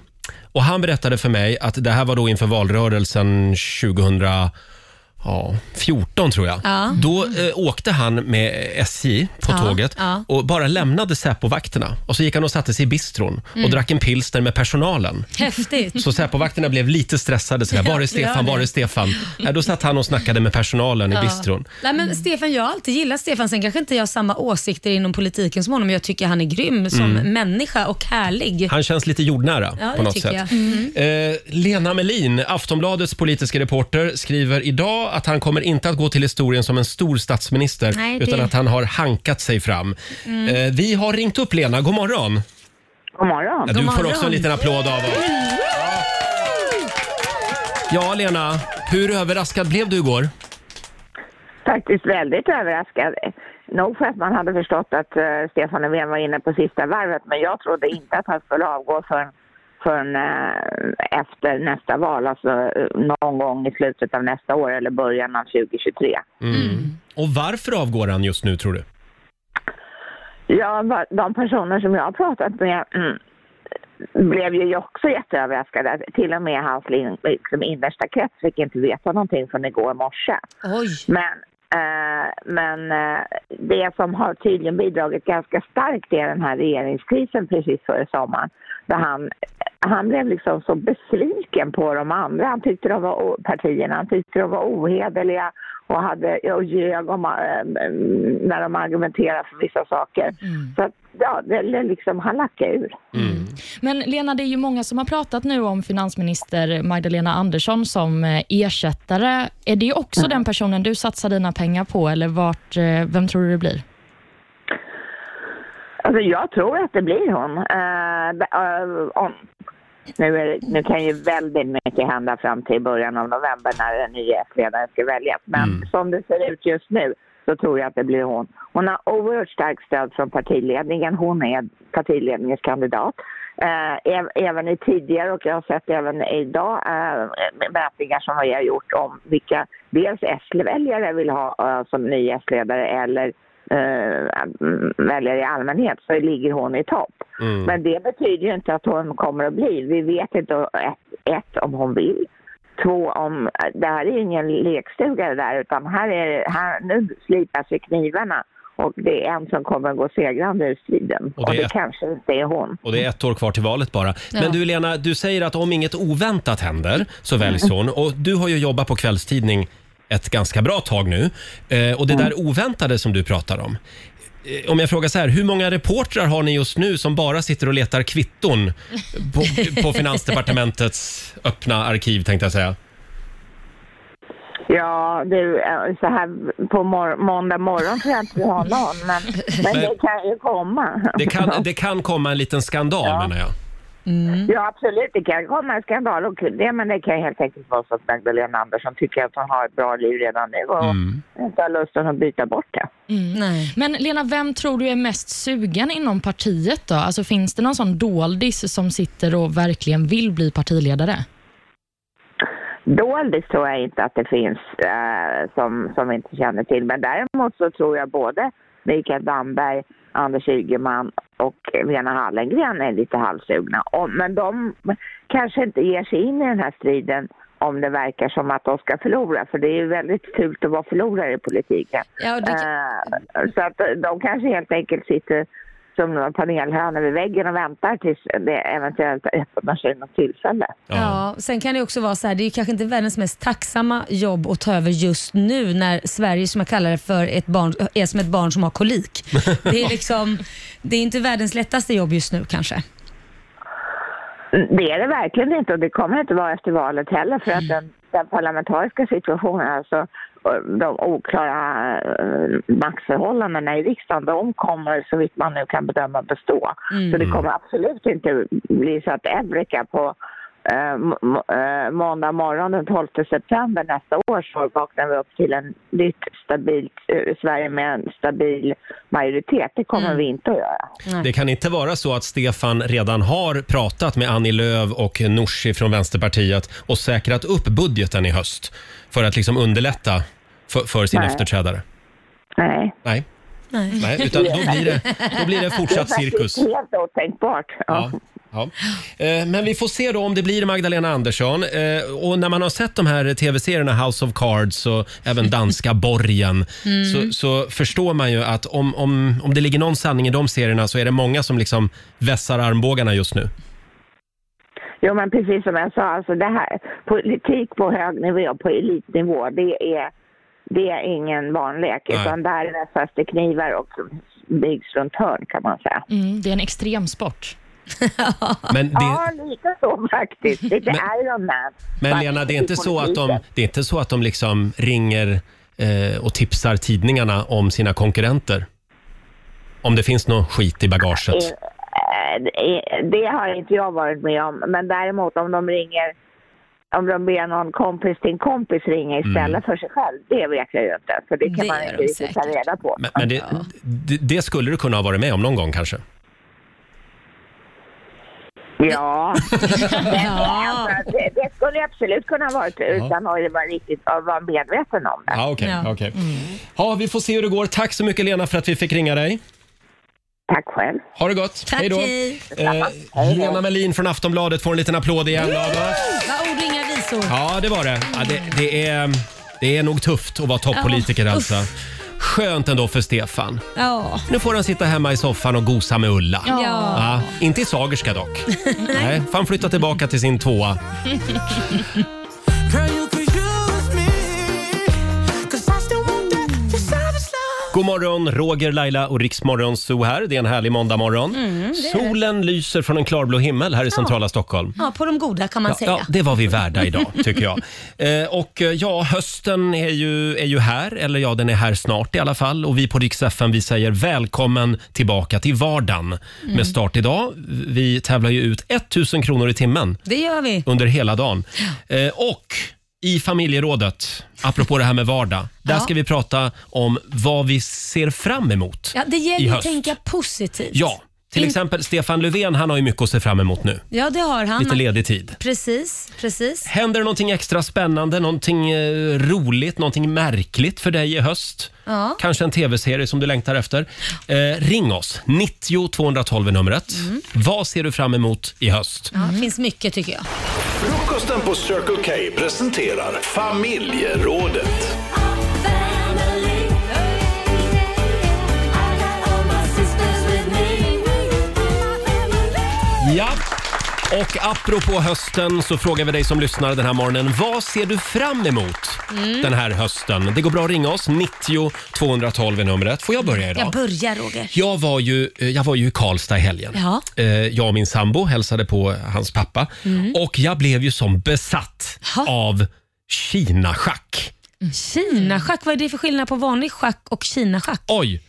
och han berättade för mig att det här var då inför valrörelsen 2014 tror jag.
Ja.
Då eh, åkte han med SJ på
Ja,
tåget
ja.
och bara lämnade Säpovakterna. Och så gick han och satte sig i bistron
Mm.
och drack en pilsner med personalen.
Häftigt.
Så Säpovakterna blev lite stressade. Sådär. Var är Stefan? Var är Stefan? Ja, då satt han och snackade med personalen i bistron.
Nej, men Stefan, jag har alltid gillat Stefan. Sen kanske inte jag har samma åsikter inom politiken som honom, men jag tycker han är grym som människa och härlig.
Mm. Han känns lite jordnära
Ja,
på
det
något
tycker
sätt.
jag.
Eh, Lena Melin, Aftonbladets politiska reporter, skriver idag att han kommer inte att gå till historien som en stor statsminister
Nej, det- Mm.
utan att han har hankat sig fram. Eh, vi har ringt upp Lena. God morgon!
God morgon.
Ja, du
God
får
morgon.
också en liten applåd av oss. Ja, Lena. Hur överraskad blev du igår?
Faktiskt väldigt överraskad. Nog för att man hade förstått att eh, Stefan Löfven var inne på sista varvet, men jag trodde inte att han skulle avgå förrän, förrän eh, efter nästa val, alltså eh, någon gång i slutet av nästa år eller början av 2023.
Mm.
Mm. Och varför avgår han just nu, tror du?
Ja, va- de personer som jag har pratat med mm, blev ju också jätteöverraskade. Till och med hans lin- liksom, innersta krets fick inte veta någonting förrän igår morse.
Oj.
Men, eh, men eh, det som har tydligen bidragit ganska starkt är den här regeringskrisen precis före sommaren. Där han, han blev liksom så besviken på de andra. Han tyckte de var o- partierna, han tyckte de var ohederliga och, hade, och ljög om, eh, när de argumenterade för vissa saker. Så att, ja, det, det liksom, han lackade ur.
Men Lena, det är ju många som har pratat nu om finansminister Magdalena Andersson som eh, ersättare. Är det också den personen du satsar dina pengar på eller vart, eh, vem tror du det blir?
Alltså jag tror att det blir hon. Eh, b- eh, om. Nu, är, det- nu kan ju väldigt mycket hända fram till början av november när den nya ledaren ska väljas. Men som det ser ut just nu så tror jag att det blir hon. Hon har oerhört starkt stöd från partiledningen. Hon är partiledningens kandidat. Eh, ev- även i tidigare och jag har sett även idag eh, mätningar som vi har gjort om vilka dels S-väljare vill ha eh, som ny S-ledare eller eh, m- väljare i allmänhet så ligger hon i topp.
Mm.
Men det betyder ju inte att hon kommer att bli. Vi vet inte ett, ett om hon vill. Två om, det här är ju ingen lekstuga det där utan här är, här, nu slipas ju knivarna och det är en som kommer att gå segrande ur striden.
Och
Och
det
det,
är-
kanske inte är hon.
Och det är ett år kvar till valet bara. Men
Ja.
du Lena, du säger att om inget oväntat händer så väljs hon. Och du har ju jobbat på kvällstidning ett ganska bra tag nu. Eh, och det där oväntade som du pratar om. Eh, Om jag frågar så här, hur många reportrar har ni just nu som bara sitter och letar kvitton på, på Finansdepartementets öppna arkiv tänkte jag säga?
Ja, du, eh, så här på mor- måndag morgon tror jag inte vi har någon men, men det kan ju komma.
Det kan, det kan komma en liten skandal
Ja.
menar jag.
Ja, absolut. Det kan komma en skandal. Och det, men det kan helt enkelt vara så att Magdalena Andersson tycker att hon har ett bra liv redan nu och inte har lusten att byta bort det.
Nej.
Men Lena, vem tror du är mest sugen inom partiet då? Alltså finns det någon sån doldis som sitter och verkligen vill bli partiledare?
Doldis tror jag inte att det finns eh, som, som vi inte känner till. Men däremot så tror jag både Mikael Damberg, Anders Ygeman och Lena Hallengren är lite halvsugna. Och, men de kanske inte ger sig in i den här striden om det verkar som att de ska förlora. För det är ju väldigt fult att vara förlorare i politiken.
Ja, och det kan-
Eh, så att de kanske helt enkelt sitter som några panelhönor vid väggen och väntar tills det eventuellt öppnar sig något tillfälle.
Ja, sen kan det också vara så här, det är ju kanske inte världens mest tacksamma jobb att ta över just nu när Sverige, som jag kallar det för, ett barn, är som ett barn som har
<laughs>
kolik. Det är liksom, det är inte världens lättaste jobb just nu kanske.
Det är det verkligen inte och det kommer inte vara efter valet heller för att den, den parlamentariska situationen, alltså eh, de oklara eh, maktförhållandena i riksdagen, de kommer så vitt man nu kan bedöma bestå.
Mm.
Så det kommer absolut inte bli så att Eureka på eh, m- m- eh, måndag morgon den 12 september nästa år så vaknar vi upp till en nytt stabilt eh, Sverige med en stabil majoritet. Det kommer vi inte att göra.
Det kan inte vara så att Stefan redan har pratat med Annie Lööf och Nooshi från Vänsterpartiet och säkrat upp budgeten i höst för att liksom underlätta för, för sin
Nej.
efterträdare?
Nej.
Nej. Nej, utan då blir det- då blir det fortsatt
<laughs> Det är faktiskt
cirkus.
helt otänkbart.
Ja. Ja. Eh, Men vi får se då om det blir Magdalena Andersson. Eh, Och när man har sett de här tv-serierna House of Cards och även danska Borgen
Mm.
så, så förstår man ju att om, om, om det ligger någon sanning i de serierna så är det många som liksom vässar armbågarna just nu.
Jo, men precis som jag sa, alltså det här, politik på hög nivå, på elitnivå, det är, det är ingen barnlek.
Nej.
Utan där vässas det knivar och byggs runt hörn kan man säga.
Mm, det är en extremsport.
Men det,
Ja, lite så faktiskt. Lite Iron Man.
Men
Fast
Lena, det är
i
inte så att de,
politiken.
det är inte så att de liksom ringer eh, och tipsar tidningarna om sina konkurrenter? Om det finns något skit i bagaget?
Eh, eh, Det har inte jag varit med om. Men däremot om de ringer, om de ber någon kompis till en kompis ringa istället
Mm.
för sig själv, det vet jag ju inte. För det kan
Det
man
gör
inte
de
riktigt ta
säkert.
reda på.
Men, men det, det, det skulle du kunna ha varit med om någon gång kanske?
Ja. alltså, det, det skulle jag absolut kunna ha varit utan att vara riktigt att vara medveten om det.
Ja, okej. ja. okej.
Mm.
Ja, vi får se hur det går. Tack så mycket Lena för att vi fick ringa dig.
Tack själv.
Ha det gott.
Tack,
Hej då.
hej.
Eh, Lena Melin från Aftonbladet får en liten applåd igen av oss.
Vad ord inga visor.
Ja, det var det. Ja, det, det, är, det är nog tufft att vara toppolitiker
Ja,
alltså. Skönt ändå för Stefan.
Ja.
Nu får han sitta hemma i soffan och gosa med Ulla.
Ja.
inte i
<laughs>
Sagerska dock. Nej, får han flytta tillbaka till sin tvåa. God morgon, Roger, Laila och Riksmorgon Zoo här. Det är en härlig måndagmorgon.
Mm, det är det.
Solen lyser från en klarblå himmel här i centrala Stockholm.
Ja, på de goda kan man
Ja,
säga.
ja, det var vi värda idag, tycker jag. Eh, och eh, ja, hösten är ju, är ju här, eller ja, den är här snart i alla fall. Och vi på Rix FM, vi säger välkommen tillbaka till vardagen
Mm.
med start idag. Vi tävlar ju ut 1000 kronor i timmen
Det gör vi.
under hela dagen. Eh, och i familjerådet, apropå det här med vardag, där
Ja.
ska vi prata om vad vi ser fram emot
Ja, det
i
gäller att
höst.
tänka positivt.
Ja, till
In-
exempel Stefan Löfven, han har ju mycket att se fram emot nu.
Ja, det har han.
Lite ledig tid.
Precis, precis.
Händer det någonting extra spännande, någonting eh, roligt, någonting märkligt för dig i höst?
Ja.
Kanske en tv-serie som du längtar efter. Eh, ring oss, 90 212 är numret.
Mm.
Vad ser du fram emot i höst?
Ja, det finns mycket tycker jag.
Frukosten på Circle K presenterar familjerådet.
Ja. Och apropå hösten så frågar vi dig som lyssnar den här morgonen, vad ser du fram emot
Mm.
den här hösten? Det går bra att ringa oss, 90 212 är numret. Får jag börja idag?
Jag börjar Roger.
Jag var ju, eh, jag var ju i Karlstad i helgen.
Ja.
Eh, Jag och min sambo hälsade på hans pappa
Mm.
och jag blev ju som besatt av Kina-schack.
Kina-schack, vad är det för skillnad på vanlig schack och Kina-schack?
Oj!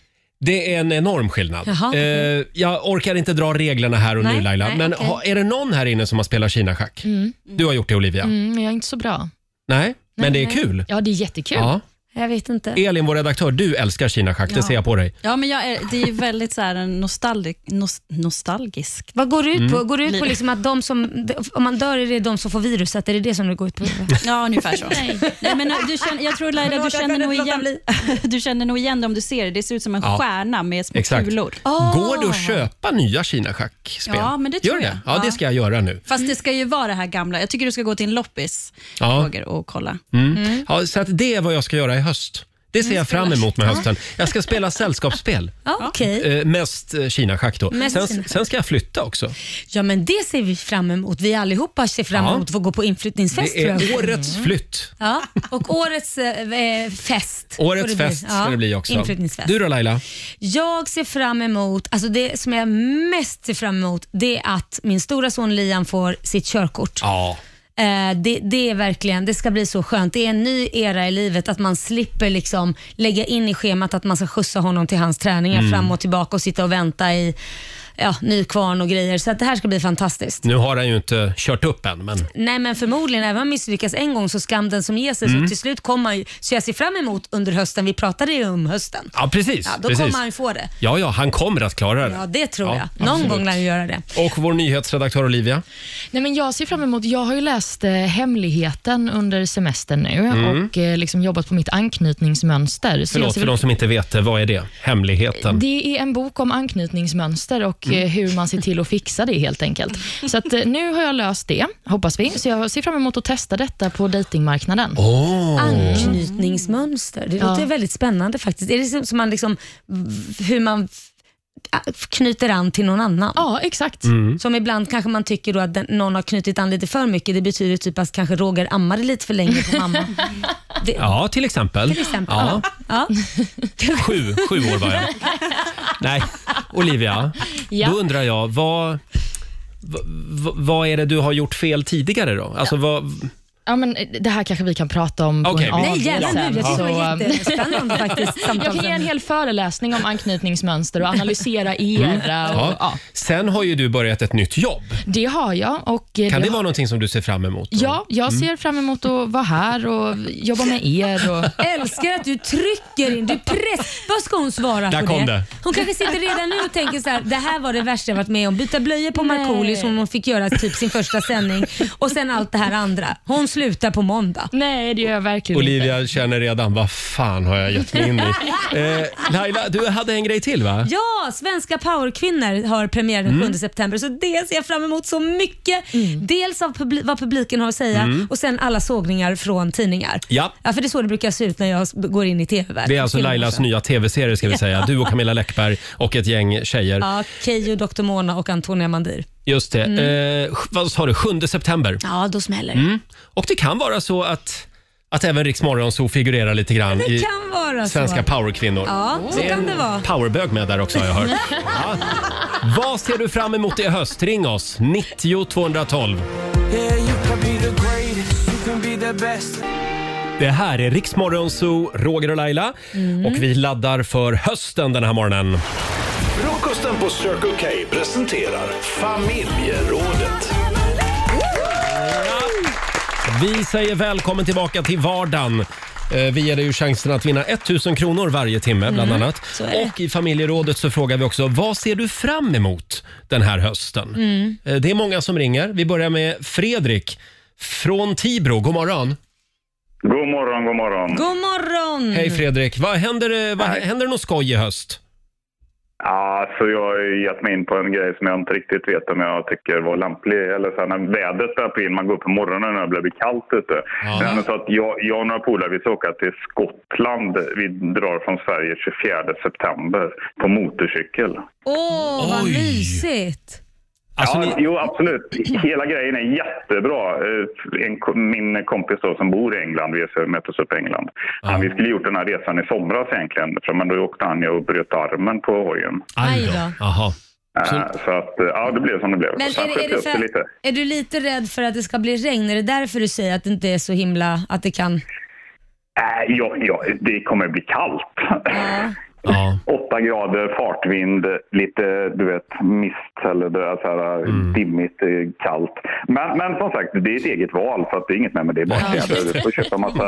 Det är en enorm skillnad.
Jaha, okej.
Eh, jag orkar inte dra reglerna här och nu
Nej,
Laila,
nej,
men
okej.
ha, är det någon här inne som har spelat Kina-schack?
Mm.
Du har gjort det Olivia?
Mm, men jag är inte så bra.
Nej, men
Nej,
det är
nej.
kul.
Ja, det är jättekul.
Ja.
Jag vet inte.
Elin, vår redaktör, du älskar Kina-schack, det
Ja.
ser jag på dig.
Ja, men jag är, det är ju väldigt så här en nostalgisk, nos, nostalgisk
Vad går det ut på? Går det ut på liksom att de som, om man dör är det de som får viruset? Är det det som det går ut på?
Ja, ungefär så. Nej. men eh, du känner, jag tror Laila, du
Förlåt, jag
känner,
kunde
nog
inte låta
igen, <laughs> du känner nog igen det om du ser det. Det ser ut som en
Ja.
stjärna med små
Exakt.
kulor.
Går det att
Ah.
köpa nya Kina-schackspel?
Ja, men det
Gör
tror jag.
det? Ja, det
Ja.
ska jag göra nu.
Fast det ska ju vara det här gamla. Jag tycker du ska gå till en loppis
Ja.
Roger, och kolla.
Mm. Ja, så att det är vad jag ska göra i höst. Det
Mm,
ser jag fram emot med hösten. Jag ska spela sällskapsspel.
<laughs> Ja, okej.
Eh, mest eh, Kina-schack då.
Mest
Sen,
Kina-schack.
sen ska jag flytta också.
<laughs> Ja, men det ser vi fram emot. Vi allihopa ser fram
Ja.
emot att få gå på inflyttningsfest
Det
tror jag.
är årets flytt.
Ja, och årets eh, eh, fest. får
Årets
det bli.
fest ska
Ja,
det bli också.
Inflyttningsfest.
Du då Laila?
Jag ser fram emot, alltså det som jag mest ser fram emot, det är att min stora son Liam får sitt körkort.
Ja.
Eh, det, det är verkligen, det ska bli så skönt. Det är en ny era i livet att man slipper liksom lägga in i schemat att man ska skjutsa honom till hans träningar
Mm.
fram och tillbaka och sitta och vänta i ja, Nykvarn och grejer. Så att det här ska bli fantastiskt.
Nu har han ju inte kört upp än, men
Nej men förmodligen, även om man misslyckas en gång så skam den som ger sig.
Mm.
Så till slut kommer han ju, så jag ser fram emot under hösten, vi pratade ju om hösten.
ja, precis.
Ja, då
precis.
kommer han ju få det.
Ja, ja, han kommer att klara det.
Ja, det tror
Ja,
jag. Någon gång lär han göra det.
Och vår nyhetsredaktör Olivia.
Nej, men jag ser fram emot, jag har ju läst eh, Hemligheten under semestern nu och eh, liksom jobbat på mitt anknytningsmönster. Så jag
Mm. Förlåt
ser
för de som inte vet det. Vad är det? Hemligheten.
Det är en bok om anknytningsmönster och
Mm.
eh, hur man ser till att fixa det helt enkelt. Så att, eh, nu har jag löst det, hoppas vi. Så jag ser fram emot att testa detta på datingmarknaden.
Åh.
Anknytningsmönster. Det låter
Mm. Ja.
väldigt spännande faktiskt. Är det som- som man liksom, hur man f- knyter an till någon annan?
Ja, exakt.
Mm.
Som ibland kanske man tycker då att den, någon har knutit an lite för mycket. Det betyder typ att kanske Roger ammade lite för länge på mamma. Det,
Ja, till exempel.
Till exempel.
Ja.
Ja.
Sju, sju år var jag. Nej, Olivia.
Ja.
Då undrar jag, vad, vad, vad är det du har gjort fel tidigare då? Alltså, vad,
Ja, men eh, det här kanske vi kan prata om
Okej,
på en
vi-
Nej,
AV
gärna
sen.
nu. Jag tycker det var
Så, eh,
jättespännande faktiskt.
<laughs> jag kan ge en
Samtalsämne.
hel föreläsning om anknytningsmönster och analysera era. Och,
Mm. ja.
ja.
Sen har ju du börjat ett nytt jobb.
Det har jag. Och eh,
Kan det
har-
vara någonting som du ser fram emot?
Ja,
Mm.
jag ser fram emot att vara här och jobba med er. Och,
Älskar att du trycker in, du press. Vad ska hon svara
Där
på
kom
det?
det.
Hon kanske sitter redan nu och tänker så här, det här var det värsta jag varit med om. Byta blöjor på Markoolio som hon fick göra typ sin första sändning och sen allt det här andra. Hon slutar på måndag.
<laughs> nej, det gör jag verkligen inte.
Olivia känner redan, vad fan har jag gett mig in
<laughs>
i? Eh, Laila, du hade en grej till va?
Ja, Svenska powerkvinnor har premiär
Mm.
den 7 september så det ser jag fram emot så mycket. Dels av publi- vad publiken har att säga och sen alla sågningar från tidningar.
Mm. Ja.
Ja, för det är så det brukar se ut när jag s- går in i tv-världen.
Det är alltså Lailas nya tv-serie ska vi säga. Du och Camilla Läckberg och ett gäng tjejer.
Ja, Keyyo, Dr Mona och Antonia Mandir.
Just det. Eh, vad sa du? 7 september.
Mm.
Mm.
Ja, då smäller det.
Och det kan vara så att, att även Rix Morgonzoo figurerar lite grann
Det
i
kan vara så.
Svenska powerkvinnor.
Ja, så kan det vara.
Powerbög med där också har
<laughs>
jag hört. Ja. Vad ser du fram emot i höst? Ring oss, 90 212. Det här är Rix Morgonzoo, Roger och Laila.
Mm.
Och vi laddar för hösten den här morgonen.
Frukosten på Circle K presenterar Familjerådet.
Vi säger välkommen tillbaka till vardagen. Eh, Vi ger dig ju chansen att vinna 1000 kronor varje timme bland annat. Och i familjerådet så frågar vi också, vad ser du fram emot den här hösten? Eh, Det är många som ringer. Vi börjar med Fredrik från Tibro. God morgon.
God morgon, god morgon.
God morgon!
Hej Fredrik. Vad händer, det- vad, händer det något skoj i höst?
Ja, så jag har ju gett mig in på en grej som jag inte riktigt vet om jag tycker var lämplig. Eller så här, när vädret börjar på in, man går upp på morgonen och det börjar bli kallt ute. Men så att jag, jag och några polare vi ska åka till Skottland. Vi drar från Sverige 24 september på motorcykel.
Åh, vad
Oj.
mysigt!
Alltså,
ja,
ni,
Jo, absolut. Hela grejen är jättebra. Eh, En, ko- min kompis då, som bor i England, vi så- möttes upp i England. Han, vi skulle gjort den här resan i somras egentligen, för- men då åkte han ju och bröt armen på hojen.
aj
Aj
då.
då.
Jaha.
Eh, Så att, eh, ja, det blev som det blev.
Men
Så han
är, det- är,
sköt
det
upp det lite.
för, är du lite rädd för att det ska bli regn? Är det därför du säger att det inte är så himla, att det kan...
Eh, Äh, ja, ja, det kommer bli kallt.
Ja.
Åtta grader, fartvind, lite du vet, mist eller det är så här, dimmigt, eh, kallt. Men, men som sagt, det är ett eget val så att det är inget med men det är bara
Ja,
kläder. Du får köpa massa,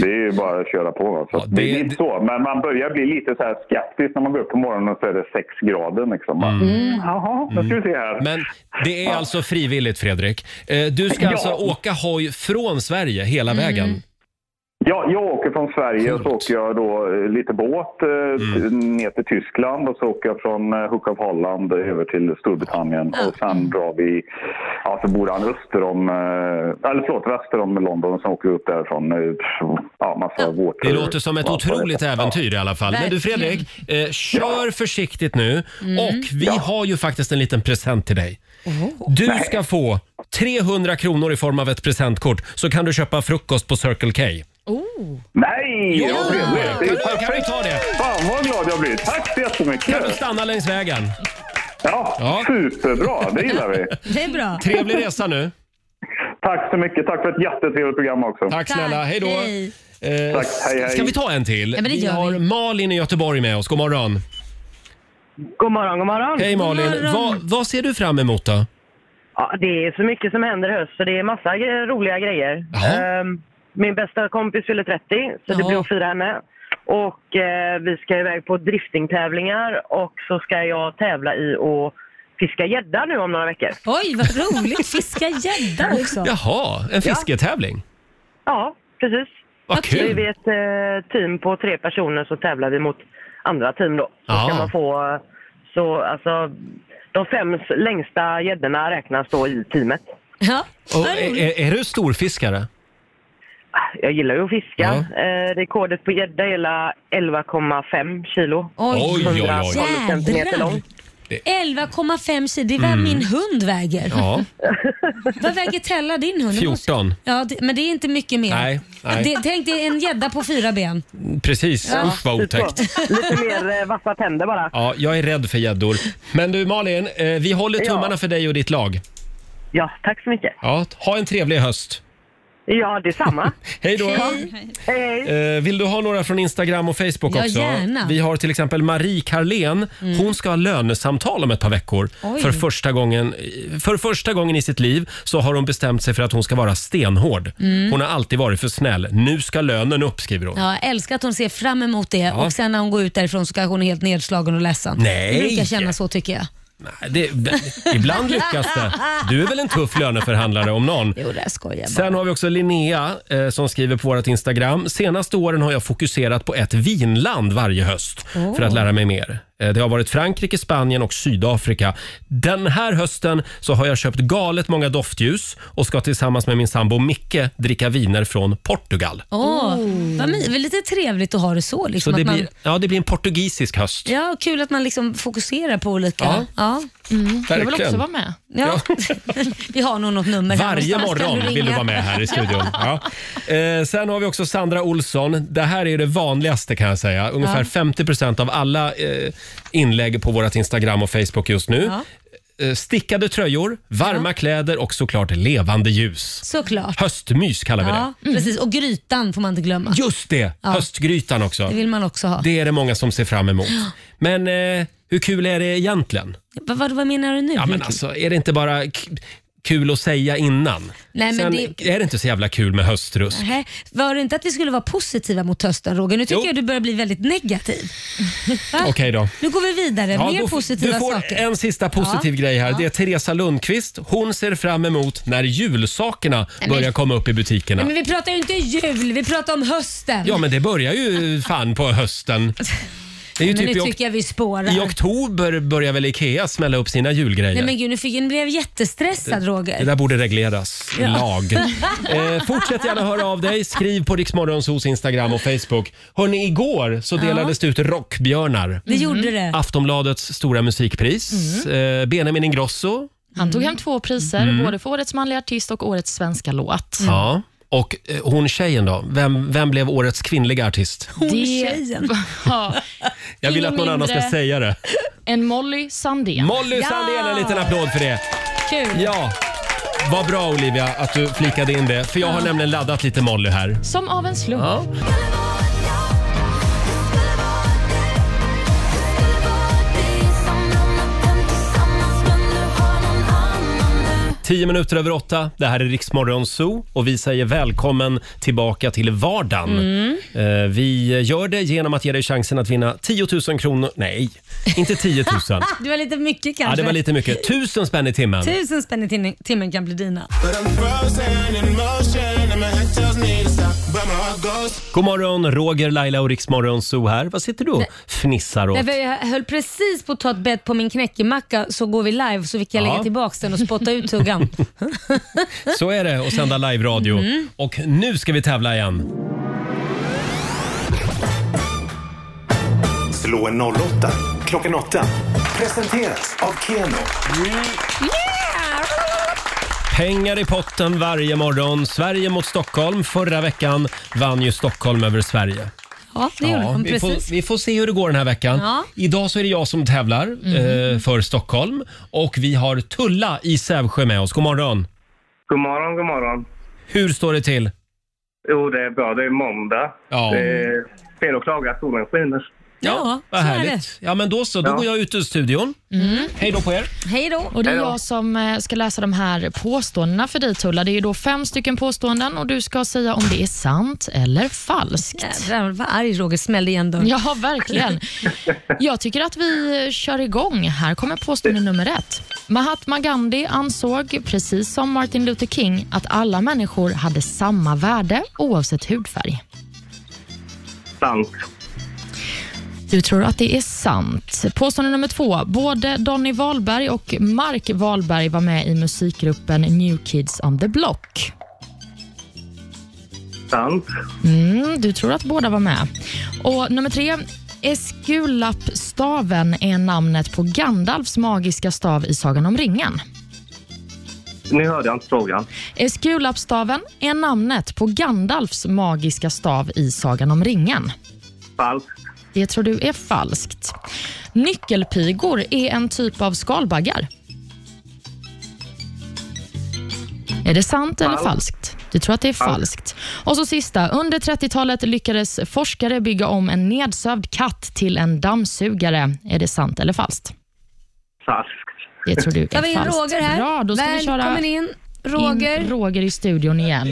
det är ju bara att köra på. va. Så att det, är inte så, men man börjar bli lite så här skeptisk när man går upp på morgonen och så är det sex grader. Liksom. Man, Mm, jaha, nu ska vi se här.
Men det är alltså frivilligt, Fredrik. Eh, Du ska
Ja.
alltså åka hoj från Sverige hela vägen.
Ja, jag åker från Sverige och så åker jag då eh, lite båt
Mm.
eh, t- ner till Tyskland och så åker jag från eh, Hook of Holland över till Storbritannien och sen drar vi, ja så bor han öster om, eh, eller förlåt väster om London och sen åker vi upp därifrån, eh, ja massa vårtor.
Det låter som ett
Ja,
otroligt äventyr i alla fall. Men du Fredrik, eh, kör försiktigt nu.
Mm.
Och vi
Ja.
har ju faktiskt en liten present till dig. Du ska få 300 kronor i form av ett presentkort så kan du köpa frukost på Circle K.
Oh.
Nej,
Ja.
vad trevligt! Det är
Kan
ju
du- kan du
perfekt.
ta det?
Fan vad glad jag blir! Tack så jättemycket!
Kan du stanna längs vägen?
Ja, superbra! Det gillar
<laughs>
vi!
Det är bra.
Trevlig resa nu.
Tack så mycket! Tack för ett jättetrevligt program också.
Tack snälla, hej då.
Hej.
Eh,
Tack, hej, hej.
Ska vi ta en till?
Ja, men det
vi
gör
har Malin i Göteborg med oss. God morgon.
God morgon, god morgon.
Hej Malin.
God morgon.
Vad- vad ser du fram emot då?
Ja, det är så mycket som händer i höst så det är massa gre- roliga grejer. Ehm, min bästa kompis fyller 30 så det blir att fira henne. Och eh, vi ska iväg på driftingtävlingar och så ska jag tävla i att fiska gädda nu om några veckor.
Oj, vad roligt. Fiska gädda också.
Jaha, en
Ja.
fisketävling?
Ja, precis.
Vad kul.
Vi är ett eh, team på tre personer så tävlar vi mot andra team då. Så
Ja.
ska man få, eh, så alltså, de fem s- längsta gäddorna räknas då i teamet.
Ja,
Och är, är- är du storfiskare?
Jag gillar ju att fiska. Eh, rekordet på gädda är hela 11,5 kilo.
Oj. Oj, oj, oj.
112 centimeter
Jädrar.
lång.
11,5 kilo, det är vad
Mm.
min hund väger.
Ja.
Vad väger Tella, din hund?
14.
Ja, det, men det är inte mycket mer.
Nej, nej.
Det, tänk dig en gädda på fyra ben.
Precis,
Ja.
usch vad otäckt.
Lite mer eh, vassa tänder bara.
Ja, jag är rädd för gäddor. Men du Malin, eh, vi håller
Ja.
tummarna för dig och ditt lag.
Ja, tack så mycket.
Ja, ha en trevlig höst.
Ja, detsamma.
Hej då.
Ja. Hej.
Eh, Vill du ha några från Instagram och Facebook
Ja,
också?
gärna.
Vi har till exempel Marie Carlén. Hon ska ha lönesamtal om ett par veckor.
Oj.
För första, gången, för första gången i sitt liv så har hon bestämt sig för att hon ska vara stenhård.
Mm.
Hon har alltid varit för snäll. Nu ska lönen upp, skriver hon.
Ja, jag älskar att hon ser fram emot det
Ja.
och sen när hon går ut därifrån så kanske hon är helt nedslagen och ledsen.
Nej.
Det brukar känna så tycker jag.
Nej, Det, ibland lyckas det. Du är väl en tuff löneförhandlare om någon?
Jo, det skojar bara.
Sen har vi också Linnea eh, som skriver på vårt Instagram. Senaste åren har jag fokuserat på ett vinland varje höst
Oh.
för att lära mig mer. Eh, det har varit Frankrike, Spanien och Sydafrika. Den här hösten så har jag köpt galet många doftljus och ska tillsammans med min sambo Micke dricka viner från Portugal.
Åh, vad my- väl lite trevligt att ha det så. Liksom,
Mm. så det,
att man,
blir, ja, det blir en portugisisk höst.
Ja, kul att man liksom fokuserar på olika.
Ja.
Ja.
Jag vill Verkligen. också vara
med.
Ja. <laughs> Vi har nog något nummer här
Varje
någonstans. Kan du
morgon vill du
ringa?
vara med här
<laughs>
i studion. Ja. Eh, sen har vi också Sandra Olsson. Det här är det vanligaste kan jag säga. Ungefär
Ja.
50 av alla eh, inlägg på vårt Instagram och Facebook just nu. Eh, stickade tröjor, varma kläder och såklart levande ljus.
Såklart.
Höstmys kallar vi
Ja, precis. Och grytan får man inte glömma.
det. Just det!
Ja.
Höstgrytan också.
Det vill man också ha.
Det är det många som ser fram emot.
Ja.
Men eh, hur kul är det egentligen?
Vad, vad, vad menar du nu?
Ja, men alltså, är det inte bara k- kul att säga innan?
Nej, men
Sen
det-
är det inte så jävla kul med höstrusk.
Nähä. Var det inte att vi skulle vara positiva mot hösten Roger? Nu tycker
Jo.
jag du börjar bli väldigt negativ. Va?
Okej då.
Nu går vi vidare.
Ja,
Mer
då-
positiva
du får eh,
saker.
en sista positiv
Ja.
grej här.
Ja.
Det är Teresa Lundqvist. Hon ser fram emot när julsakerna
men-
börjar komma upp i butikerna.
Nej, men vi pratar ju inte jul, vi pratar om hösten.
Ja, men det börjar ju fan på
<laughs>
hösten. Det är ju
Men
typ i,
nu
ok-
tycker jag vi spårar.
i oktober börjar väl Ikea smälla upp sina julgrejer.
Nej men gud, nu fick, nu blev jag jättestressad Roger.
Det där borde regleras i
Ja. <laughs>
lag. Eh, fortsätt gärna höra av dig. Skriv på Riksmorgonsos Instagram och Facebook. Hörrni, igår så
Ja.
delades det ut rockbjörnar.
Det gjorde det.
Aftonbladets stora musikpris.
Mm.
Eh, Benjamin Ingrosso.
Han tog hem två priser,
Mm.
både för årets manliga artist och årets svenska låt.
Ja. Och eh, hon tjejen då? Vem, vem blev årets kvinnliga artist?
tjejen. <laughs> Ja,
Jag vill
ingen
att någon annan ska
mindre
säga det.
än Molly Sandén.
Molly Sandén, en liten applåd för det.
Kul.
Ja. Vad bra Olivia att du flikade in det, för jag har
Ja.
nämligen laddat lite Molly här.
Som av en slump.
Ja. Tio minuter över åtta. Det här är Riksmorgon Zoo och vi säger välkommen tillbaka till vardagen.
Mm.
Eh, Vi gör det genom att ge dig chansen att vinna 10 000 kronor. Nej, inte 10 000.
Du var lite mycket kanske.
Ja, det var lite mycket. Tusen spänn i timmen.
Tusen spänn i timmen- timmen kan bli dina.
God morgon, Roger, Laila och Riksmorgon Zoo här. Vad sitter du och
Nej.
fnissar åt?
Nej, för jag höll precis på att ta ett bett på min knäckemacka så går vi live så fick jag
Ja.
lägga tillbaka den och spotta ut tuggan.
Så är det att sända live-radio.
Mm.
Och nu ska vi tävla igen.
Slå en 08 klockan 8. Presenteras av Keno.
Pengar i potten varje morgon. Sverige mot Stockholm. Förra veckan vann ju Stockholm över Sverige.
Ja, det gjorde de.
vi,
Precis.
får, vi får se hur det går den här veckan.
Ja. Mhm.
Idag så är det jag som tävlar eh, för Stockholm och vi har Tulla i Sävsjö med oss. God morgon!
God morgon, god morgon.
Hur står det till?
Jo, det är bra. Det är måndag.
Ja.
Det är fel att klaga. Solen skiner.
Ja, Vad härligt. Ja, men då så. Då
Ja.
går jag ut ur studion.
Mm.
Hej då på er!
Hej då.
Och det är
Hej då.
jag som eh, ska läsa de här påståendena för dig Tulla. Det är ju då fem stycken påståenden och du ska säga om det är sant eller falskt.
Jädrar vad arg Roger smällde igen dörren.
Ja, verkligen. Jag tycker att vi kör igång. Här kommer påstående nummer ett. Mahatma Gandhi ansåg, precis som Martin Luther King, att alla människor hade samma värde oavsett hudfärg.
Sant.
Du tror att det är sant. Påstående nummer två. Både Donny Wahlberg och Mark Wahlberg var med i musikgruppen New Kids on the Block.
Sant.
Mm, du tror att båda var med. Och nummer tre. Eskulapstaven är namnet på Gandalfs magiska stav i Sagan om ringen.
Nu hörde jag inte frågan.
Eskulapstaven är namnet på Gandalfs magiska stav i Sagan om ringen.
Falskt.
Det tror du är falskt. Nyckelpigor är en typ av skalbaggar. Är det sant eller
Falskt.
falskt? Du tror att det är falskt. Och så sista. Under 30-talet lyckades forskare bygga om en nedsövd katt till en dammsugare. Är det sant eller falskt?
Falskt.
Det tror du är
Tar vi in
falskt.
Roger här.
Bra, då ska vi köra
Välkommen in Roger.
in Roger i studion igen.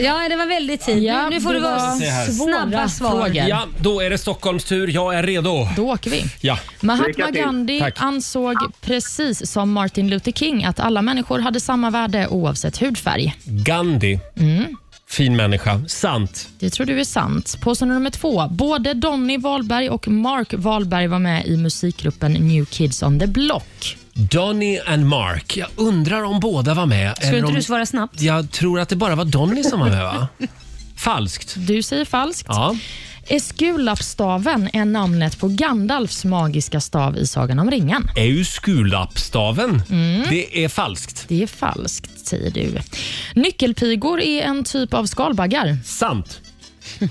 Ja, det var väldigt tid.
Ja,
nu, nu får
det
du vara
var Se här.
snabba
svåra
svar.
frågor.
Ja, då är det Stockholms tur. Jag är redo.
Då åker vi.
Ja.
Mahatma Gandhi
Tack.
ansåg precis som Martin Luther King att alla människor hade samma värde oavsett hudfärg.
Gandhi.
Mm.
Fin människa. Sant.
Det tror du är sant. Påstående nummer två. Både Donny Wahlberg och Mark Wahlberg var med i musikgruppen New Kids on the Block.
Donny and Mark. Jag undrar om båda var med.
Skulle
eller
inte
om...
du svara snabbt?
Jag tror att det bara var Donny som var med,
<laughs>
va? Falskt.
Du säger falskt.
Ja.
Eskulapstaven är namnet på Gandalfs magiska stav i Sagan om ringen.
Är ju skulappstaven.
Mm.
Det är falskt.
Det är falskt, säger du. Nyckelpigor är en typ av skalbaggar.
Sant.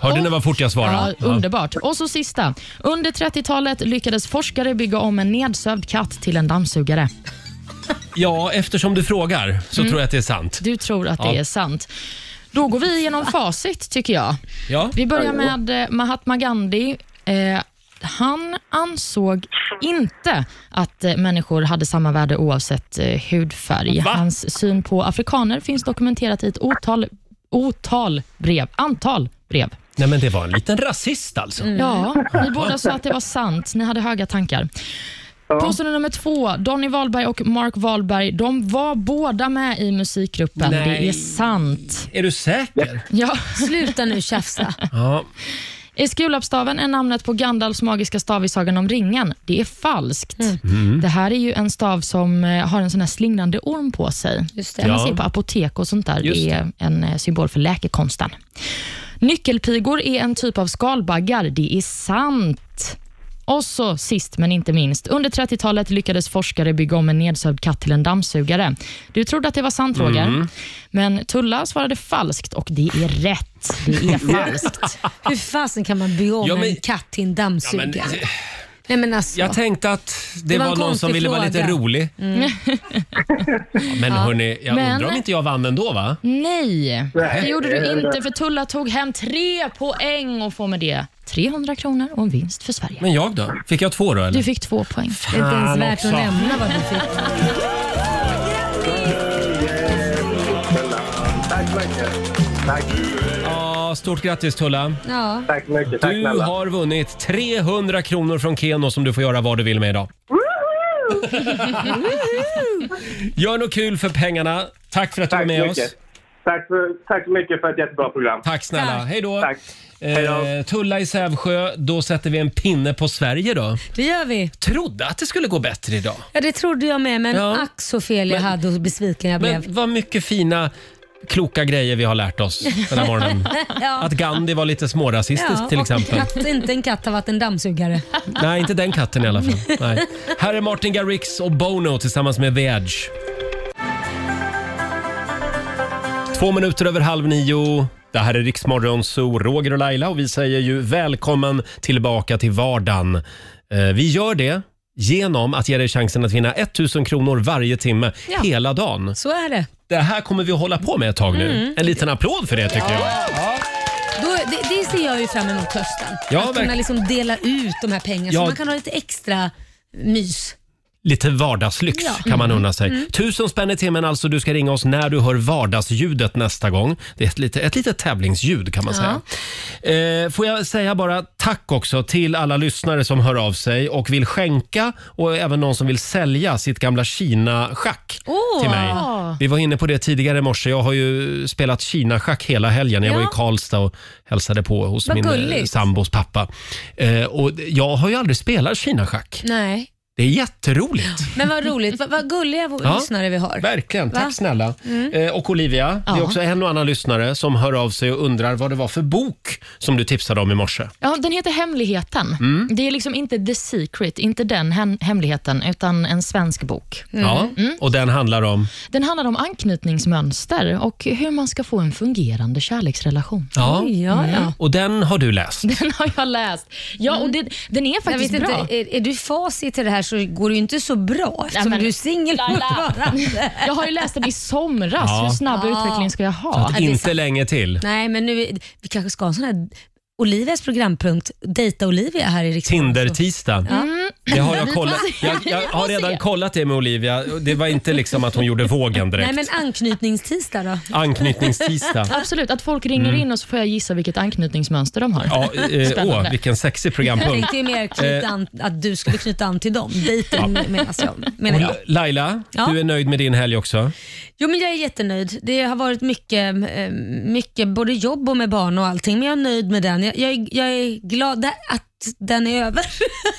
Hörde ni vad fort jag svarade?
Ja, underbart. Och så sista. Under 30-talet lyckades forskare bygga om en nedsövd katt till en dammsugare.
Ja, eftersom du frågar så
Mm.
tror jag att det är sant.
Du tror att
Ja.
det är sant. Då går vi igenom facit, tycker jag.
Ja.
Vi börjar med eh, Mahatma Gandhi. Eh, han ansåg inte att eh, människor hade samma värde oavsett eh, hudfärg. Hans syn på afrikaner finns dokumenterat i ett otal, otal brev, antal brev.
Nej, men det var en liten rasist alltså.
Ja, ni båda sa att det var sant. Ni hade höga tankar. Påstående nummer två. Donny Wahlberg och Mark Wahlberg de var båda med i musikgruppen.
Nej.
Det är sant.
Är du säker?
Ja. Sluta nu <laughs> tjafsa.
Ja.
Eskulapstaven är namnet på Gandalfs magiska stav i Sagan om ringen. Det är falskt. Det här är ju en stav som eh, har en sån här slingrande orm på sig. Just
det.
kan man
Ja.
se på apotek och sånt där.
Just
det
det.
är en eh, symbol för läkekonsten. Nyckelpigor är en typ av skalbaggar. Det är sant. Och så sist men inte minst. Under 30-talet lyckades forskare bygga om en nedsövd katt till en dammsugare. Du trodde att det var sant, Roger.
Mm.
Men Tulla svarade falskt och det är rätt.
<laughs>
Det är falskt.
Hur fasen kan man bygga om
Ja, men-
en katt till en dammsugare?
Ja, men-
Nej, men alltså.
Jag tänkte att det,
Det var
var,
en
någon som
konstig
ville vara lite
fråga.
rolig.
Mm.
Ja, men
<laughs> Ja.
hörni, jag
Men-
undrar om inte jag vann ändå va?
Nej,
Nej.
det gjorde du inte för Tulla tog hem tre poäng och får med det 300 kronor och en vinst för Sverige.
Men jag då? Fick jag två då eller?
Du fick två poäng.
Fan Det är inte ens värt att också. nämna
vad du fick.
Tack så mycket. Tack.
Ja, stort grattis Tulla.
Ja.
Tack så mycket. Tack
Du
snälla.
har vunnit 300 kronor från Keno som du får göra vad du vill med idag. Gör något kul för pengarna. Tack för att du var
Tack
med
så
oss.
mycket. Tack, för, tack så <laughs> mycket för ett jättebra program.
Tack snälla. Tack. Hej då.
Tack. Hej då.
Eh, Tulla i Sävsjö, då sätter vi en pinne på Sverige då.
Det gör vi.
Trodde att det skulle gå bättre idag.
Ja, det trodde jag med, men
Ja.
ack så fel jag hade och besviken jag blev.
Men vad mycket fina, kloka grejer vi har lärt oss den här morgonen.
ja.
Att Gandhi var lite smårasistisk
Ja,
till
och
exempel.
Katt, inte en katt har varit en dammsugare.
Nej, inte den katten i alla fall. Nej. Här är Martin Garrix och Bono tillsammans med The Edge. Två minuter över halv nio. Det här är Riksmorgon Zoo, Roger och Laila och vi säger ju välkommen tillbaka till vardagen. Eh, Vi gör det genom att ge dig chansen att vinna 1000 kronor varje timme
Ja.
hela dagen.
Så är det.
Det här kommer vi att hålla på med ett tag nu.
Mm.
En liten applåd för det tycker jag.
Då, det, det ser jag ju fram emot hösten.
Ja,
att kunna
verkligen.
liksom dela ut de här pengarna
Ja.
så man kan ha lite extra mys.
Lite vardagslyx
Ja.
kan man unna sig.
Mm.
Tusen spänn i timmen alltså. Du ska ringa oss när du hör vardagsljudet nästa gång. Det är ett litet, ett litet tävlingsljud kan man
Ja.
säga. Eh, får jag säga bara tack också till alla lyssnare som hör av sig och vill skänka och även någon som vill sälja sitt gamla Kina-schack
Åh.
till mig. Vi var inne på det tidigare i morse. Jag har ju spelat Kina-schack hela helgen. Jag
Ja.
var i Karlstad och hälsade på hos
Vad
min eh,
gulligt.
sambos pappa. Eh, och jag har ju aldrig spelat Kina-schack.
Nej.
Det är jätteroligt.
Men vad roligt. Vad, vad gulliga våra
Ja.
lyssnare vi har.
Verkligen, tack
Va?
snälla.
Mm.
Eh, och Olivia, det är
Ja.
också en och annan lyssnare som hör av sig och undrar vad det var för bok som du tipsade om i morse.
Mm.
Ja, den heter Hemligheten.
Mm.
Det är liksom inte The Secret, inte den hem- hemligheten, utan en svensk bok.
Ja,
Mm.
och den handlar om?
Den handlar om anknytningsmönster och hur man ska få en fungerande kärleksrelation.
Ja.
Mm.
Och den har du läst?
<laughs> Den har jag läst. Ja, och det, den
Jag
är
vet
faktiskt bra.
Inte, är, är du facit till det här så går det ju inte så bra eftersom
men-
du är singel
Laila.
fortfarande.
Jag har ju läst den i somras.
Ja.
Hur snabb
Ja.
utveckling ska jag
Så
ha?
att inte länge till.
<laughs> Nej, men nu, vi kanske ska ha en sån här Olivias programpunkt, Dejta Olivia här i riksdagen.
Tinder-tisdag.
Ja.
Det har jag,
Mm. Vi
kollat.
får se.
jag, jag har redan kollat det med Olivia. Det var inte liksom att hon gjorde vågen direkt.
Nej, men anknytningstisdag då? <laughs>
Anknytningstisdag.
Absolut, att folk ringer
Mm.
in och så får jag gissa vilket anknytningsmönster de har.
Ja, eh,
Spännande.
åh, vilken sexig
Jag
programpunkt.
tänkte ju mer knyta
Eh,
an, att du skulle knyta an till dem. Dejten menas jag, menar
och
jag.
Laila,
Ja.
du är nöjd med din helg också?
Jo, men jag är jättenöjd. Det har varit mycket, eh, mycket både jobb och med barn och allting, men jag är nöjd med den. Jag, jag, är- jag är glad att den är över.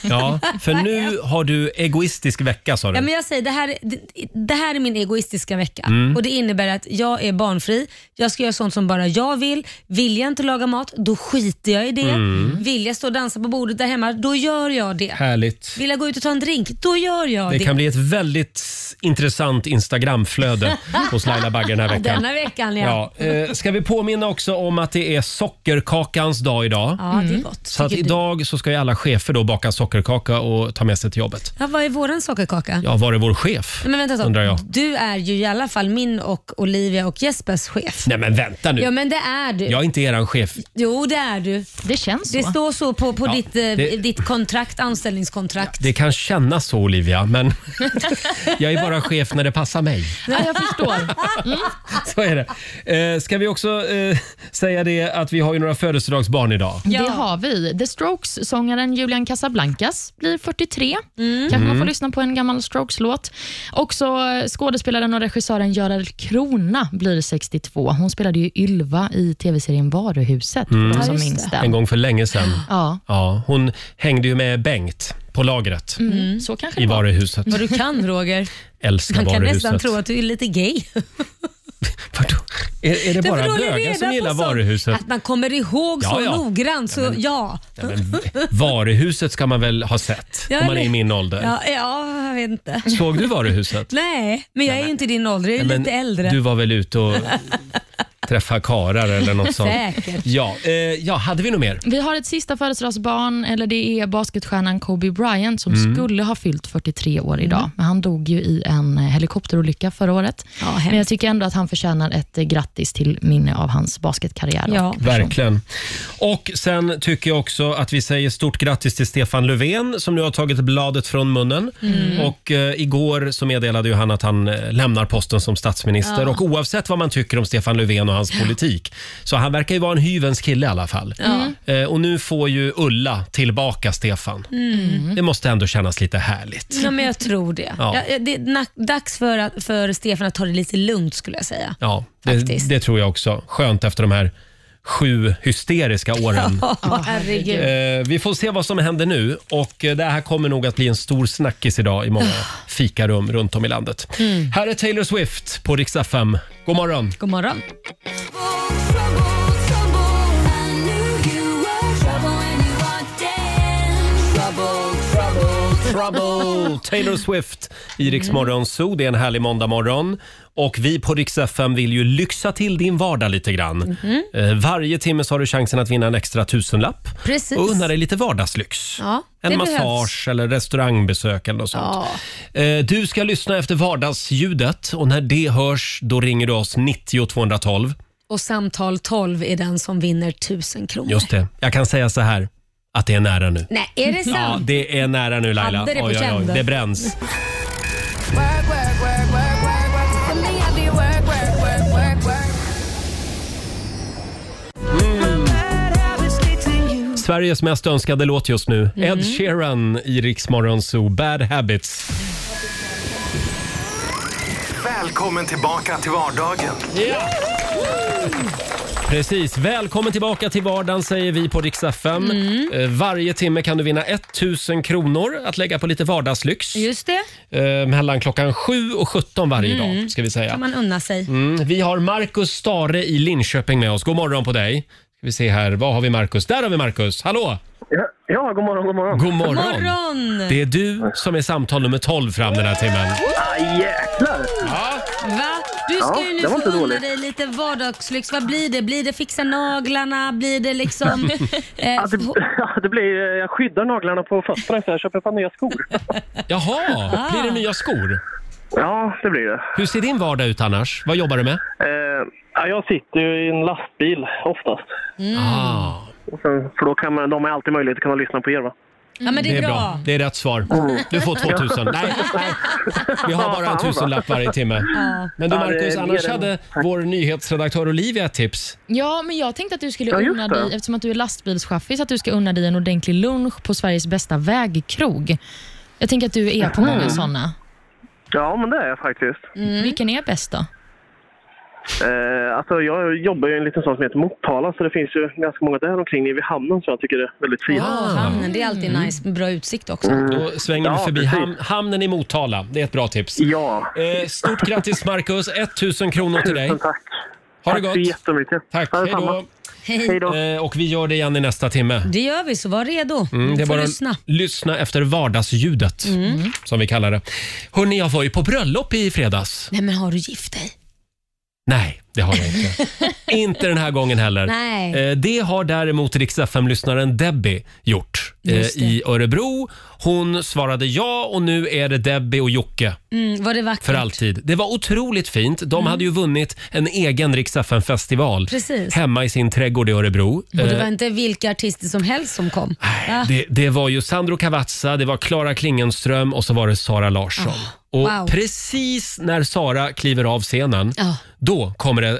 Ja,
<laughs>
för nu har du egoistisk vecka sa du.
Ja, men jag säger, det, här, det, det här är min egoistiska vecka
Mm.
och det innebär att jag är barnfri. Jag ska göra sånt som bara jag vill. Vill jag inte laga mat, då skiter jag i det.
Mm.
Vill jag stå och dansa på bordet där hemma, då gör jag det.
Härligt.
Vill jag gå ut och ta en drink, då gör jag det.
Det kan bli ett väldigt
<laughs>
intressant Instagramflöde hos Laila Bagge den här veckan.
Denna veckan, ja.
Ja, eh, ska vi påminna också om att det är sockerkakans dag idag.
Ja, det är Mm. gott,
Så att
tycker du.
idag så ska ju alla chefer då baka sockerkaka och ta med sig till jobbet.
Ja, vad är våran sockerkaka?
Ja, var är vår chef?
Nej, Men vänta, så.
Undrar jag.
Du är ju i alla fall min och Olivia och Jespers chef.
Nej men vänta nu.
Ja men det är du.
Jag är inte eran chef.
Jo det är du.
Det känns
Det
så.
står så på, på
Ja,
ditt, eh,
det-
ditt kontrakt, anställningskontrakt.
Det kan kännas så Olivia, men <laughs> jag är bara chef när det
<laughs>
passar mig.
Ja, jag förstår. Mm.
Så är det. Eh, ska vi också eh, säga det att vi har ju några födelsedagsbarn idag.
Det har vi. The Strokes-sångaren Julian Casablancas blir 43. kanske man får
Mm.
lyssna på en gammal Strokes-låt. Också eh, skådespelaren och regissören Görel Krona blir 62. Hon spelade ju Ylva i tv-serien Varuhuset, för de som minns den.
Mm. En gång för länge sedan.
Ja.
Ja, hon hängde ju med Bengt på lagret
Mm. Så kanske
i
det var.
varuhuset.
Vad du kan
<laughs>
Roger.
Älskar
Mm. Man kan
varuhuset.
nästan tro att du är lite
<laughs>
gay.
Är, är det bara
Därför håller vi
bögar
reda
som
på
gillar
sånt. <laughs>
varuhuset?
Att man kommer ihåg
Ja,
så
ja.
noggrant så ja.
Ja, men varuhuset ska man väl ha sett
Ja,
om man är
eller-
i min ålder.
Ja, ja, jag vet inte.
Såg du varuhuset?
Nej, men <laughs> jag är ju inte din ålder. Jag är
Nej,
<laughs>
men
lite äldre.
Du var väl ute och träffa karar eller något sånt.
Äh,
Säkert.
Ja, eh, ja, hade vi något mer?
Vi har ett sista födelsedagsbarn, eller det är basketstjärnan Kobe Bryant som
Mm.
skulle ha fyllt 43 år idag, men han dog ju i en eh, helikopterolycka förra året. men jag tycker ändå att han förtjänar ett eh, grattis till minne av hans basketkarriär. och person.
Verkligen. Och sen tycker jag också att vi säger stort grattis till Stefan Löfven som nu har tagit bladet från munnen.
Mm.
Och eh, igår så meddelade ju han att han eh, lämnar posten som statsminister.
Ja.
Och oavsett vad man tycker om Stefan Löfven och hans politik, så han verkar ju vara en hyvens kille i alla fall.
Ja. Mm.
Eh, och nu får ju Ulla tillbaka Stefan.
Mm.
Det måste ändå kännas lite härligt.
Ja, men jag tror det.
Ja.
Ja. eh, det är na- dags för, att, för Stefan att ta det lite lugnt skulle jag säga.
Ja, det,
Faktiskt.
det tror jag också. Skönt efter de här sju hysteriska åren.
<laughs> Ja, herregud.
Eh, vi får se vad som händer nu och eh, det här kommer nog att bli en stor snackis idag i många
Ah.
fikarum runt om i landet.
Mm.
Här är Taylor Swift på Rix FM. God morgon!
God morgon. <laughs>
Trouble! Taylor Swift i Rix
Mm.
Morgon Zoo. Det är en härlig måndagmorgon. Och vi på Rix FM vill ju lyxa till din vardag lite grann.
Mhm.
Eh, Varje timme så har du chansen att vinna en extra tusenlapp
Precis.
och unna dig lite vardagslyx.
Ja, det
En massage
behövs.
eller restaurangbesök eller något sånt. Eh, Du ska lyssna efter vardagsljudet och när det hörs då ringer du oss 90 212.
Och samtal 12 är den som vinner 1000 kronor.
Just det. Jag kan säga så här att det är nära nu.
Nej, är det sant?
Ja, det är nära nu Laila.
Hade det på känn.
det bränns. Sveriges mest önskade låt just nu.
Mm.
Ed Sheeran i Rix Morgon Zoo, Bad Habits.
Välkommen tillbaka till vardagen.
Precis. Välkommen tillbaka till vardagen säger vi på Rix FM.
Mm.
Eh, Varje timme kan du vinna 1000 kronor att lägga på lite vardagslyx.
Just det.
Eh, mellan klockan 7 och 17 varje
Mm.
dag ska vi säga.
kan man unna sig.
Mm. Vi har Markus Stare i Linköping med oss. God morgon på dig. Ska vi se här, vad har vi Markus? Där har vi Markus. Hallå! Ja, ja, god morgon, god morgon. God morgon.
God morgon.
Det är du som är samtal nummer 12 fram den här timmen.
Ah, jäklar!
Va? Du ska
Ja,
ju
det
nu
var inte
få unna
dåligt.
dig lite vardagslyx. Vad blir det? Blir det fixa naglarna? Blir det
<laughs>
liksom... eh,
Ja, det <laughs> blir, eh, jag skyddar naglarna på fötterna så jag köper ett par nya skor.
Jaha, blir det nya skor?
Ja, det blir det.
Hur ser din vardag ut annars? Vad jobbar du med?
Eh, ja, jag sitter ju i en lastbil oftast.
Ah.
Och sen, för då kan man, de har alltid möjlighet att kunna lyssna på er va?
Ja, men det är, bra.
Det är rätt svar. Du får 2000. Nej, nej. Vi har bara en tusenlapp varje timme.
Ja.
Men du
Ja, det är
Markus,
mer
annars
än-
hade vår nyhetsredaktör Olivia ett tips.
Ja, men jag tänkte att du skulle
Ja, just
unna
det.
dig, eftersom att du är lastbilschaffis, att du ska unna dig en ordentlig lunch på Sveriges bästa vägkrog. Jag tänker att du är på många
Mm.
sådana.
Ja, men det är jag faktiskt.
Vilken är bäst då?
Eh, alltså, jag jobbar ju i en liten stad som heter Motala så det finns ju ganska många där omkring nere vid hamnen som jag tycker är väldigt fina.
Ja, Mm. hamnen, det är alltid nice. Bra utsikt också.
Då svänger vi
Ja,
förbi
precis.
ham hamnen i Motala. Det är ett bra tips.
Ja.
Eh, stort grattis Markus, 1000 kronor till dig.
Tusen tack.
Ha det
Tack
gott.
så jättemycket.
Tack,
Ja,
hej
detsamma.
då. Eh, Och vi gör det igen i nästa timme.
Det gör vi, så var redo.
Mm, det är
Får
bara att
lyssna.
lyssna efter vardagsljudet,
Mm.
som vi kallar det. Hörni, jag var ju på bröllop i fredags.
Nej, men har du gift
Mm.
dig?
Nej, det har
<laughs>
jag inte. inte den här gången heller.
Nej.
Eh, Det har däremot Rix lyssnaren Debbie gjort eh,
Just det.
i Örebro. Hon svarade ja och nu är det Debbie och Jocke.
Mm, var det vackert?
För alltid. Det var otroligt fint. De
Mm.
hade ju vunnit en egen Rix festival
Precis.
hemma i sin trädgård i Örebro.
Och det
Eh,
var inte vilka artister som helst som kom. Va?
det, det var ju Sandro Cavazza, det var Klara Klingenström och så var det Sara Larsson. och
Ah, wow.
precis när Sara kliver av scenen,
Ja.
då kommer det eh,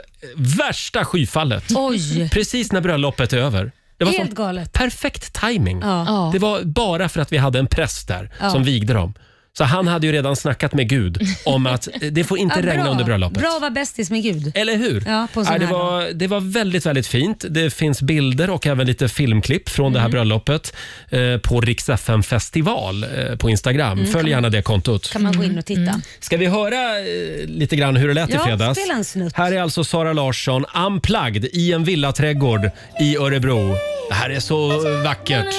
värsta skyfallet.
Oj.
Precis när bröllopet är över. Det var
Helt
sån
galet.
Perfekt timing.
Ja. Ja.
Det var bara för att vi hade en präst där
Ja.
som vigde dem. Så han hade ju redan snackat med Gud om att eh, det får inte
Ja,
regna
bra.
under bröllopet.
Bra att vara bästis med Gud.
Eller hur?
Ja, på en sån
Nej, det,
här dag.
var, det var väldigt, väldigt fint. Det finns bilder och även lite filmklipp från det här
Mm.
bröllopet eh, på Rix FM festival eh, på Instagram.
Mm, kan
Följ
man-
gärna det kontot.
kan man gå in och titta.
Ska vi höra eh, lite grann hur det lät
Ja,
i fredags?
spela en snutt.
Här är alltså Sara Larsson unplugged i en villaträdgård i Örebro. Det här är så vackert.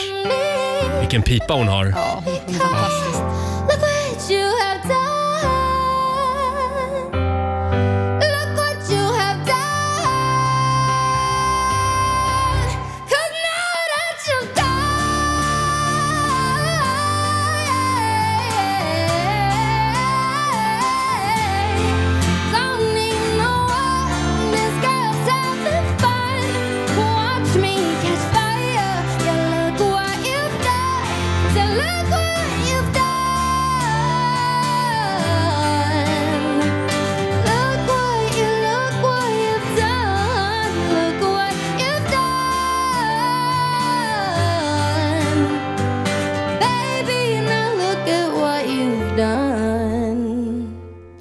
Vilken pipa hon har.
Ja, hon är fantastisk.
Look what you have done. Look what you have done.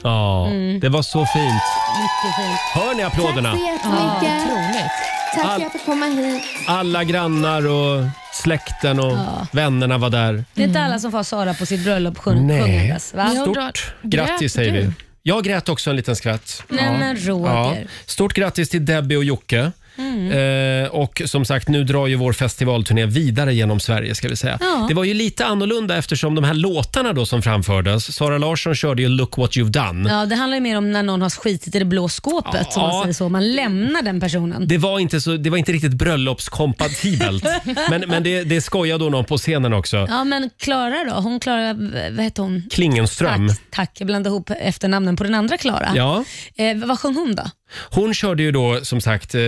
Ja,
Mm.
det var så fint.
Mycket fint.
Hör ni applåderna?
Tack så jättemycket.
Ja,
Tack
All-
för att jag fick komma hit.
Alla grannar och släkten och
Ja.
vännerna var där.
Det är inte alla som får ha Sara på sitt bröllop sjung-
Nej.
sjungandes. Va?
Stort grattis säger vi. Jag grät också en liten skratt.
Nej, men Mm. Roger.
Stort grattis till Debbie och Jocke.
Mm.
Eh, och som sagt, nu drar ju vår festivalturné vidare genom Sverige ska vi säga.
Ja.
Det var ju lite annorlunda eftersom de här låtarna då som framfördes. Sara Larsson körde ju Look what you've done.
Ja, det handlar ju mer om när någon har skitit i det blå skåpet. Om man
Ja.
säger så. Man lämnar den personen.
Det var inte, så, det var inte riktigt
<laughs>
bröllopskompatibelt. men men det, det skojade hon om på scenen också.
Ja, men Klara då? Hon Klara, vad heter hon?
Klingenström.
Tack, tack. Jag blandade ihop efternamnen på den andra Klara.
Ja.
Eh, vad sjöng hon då?
Hon körde ju då som sagt, eh,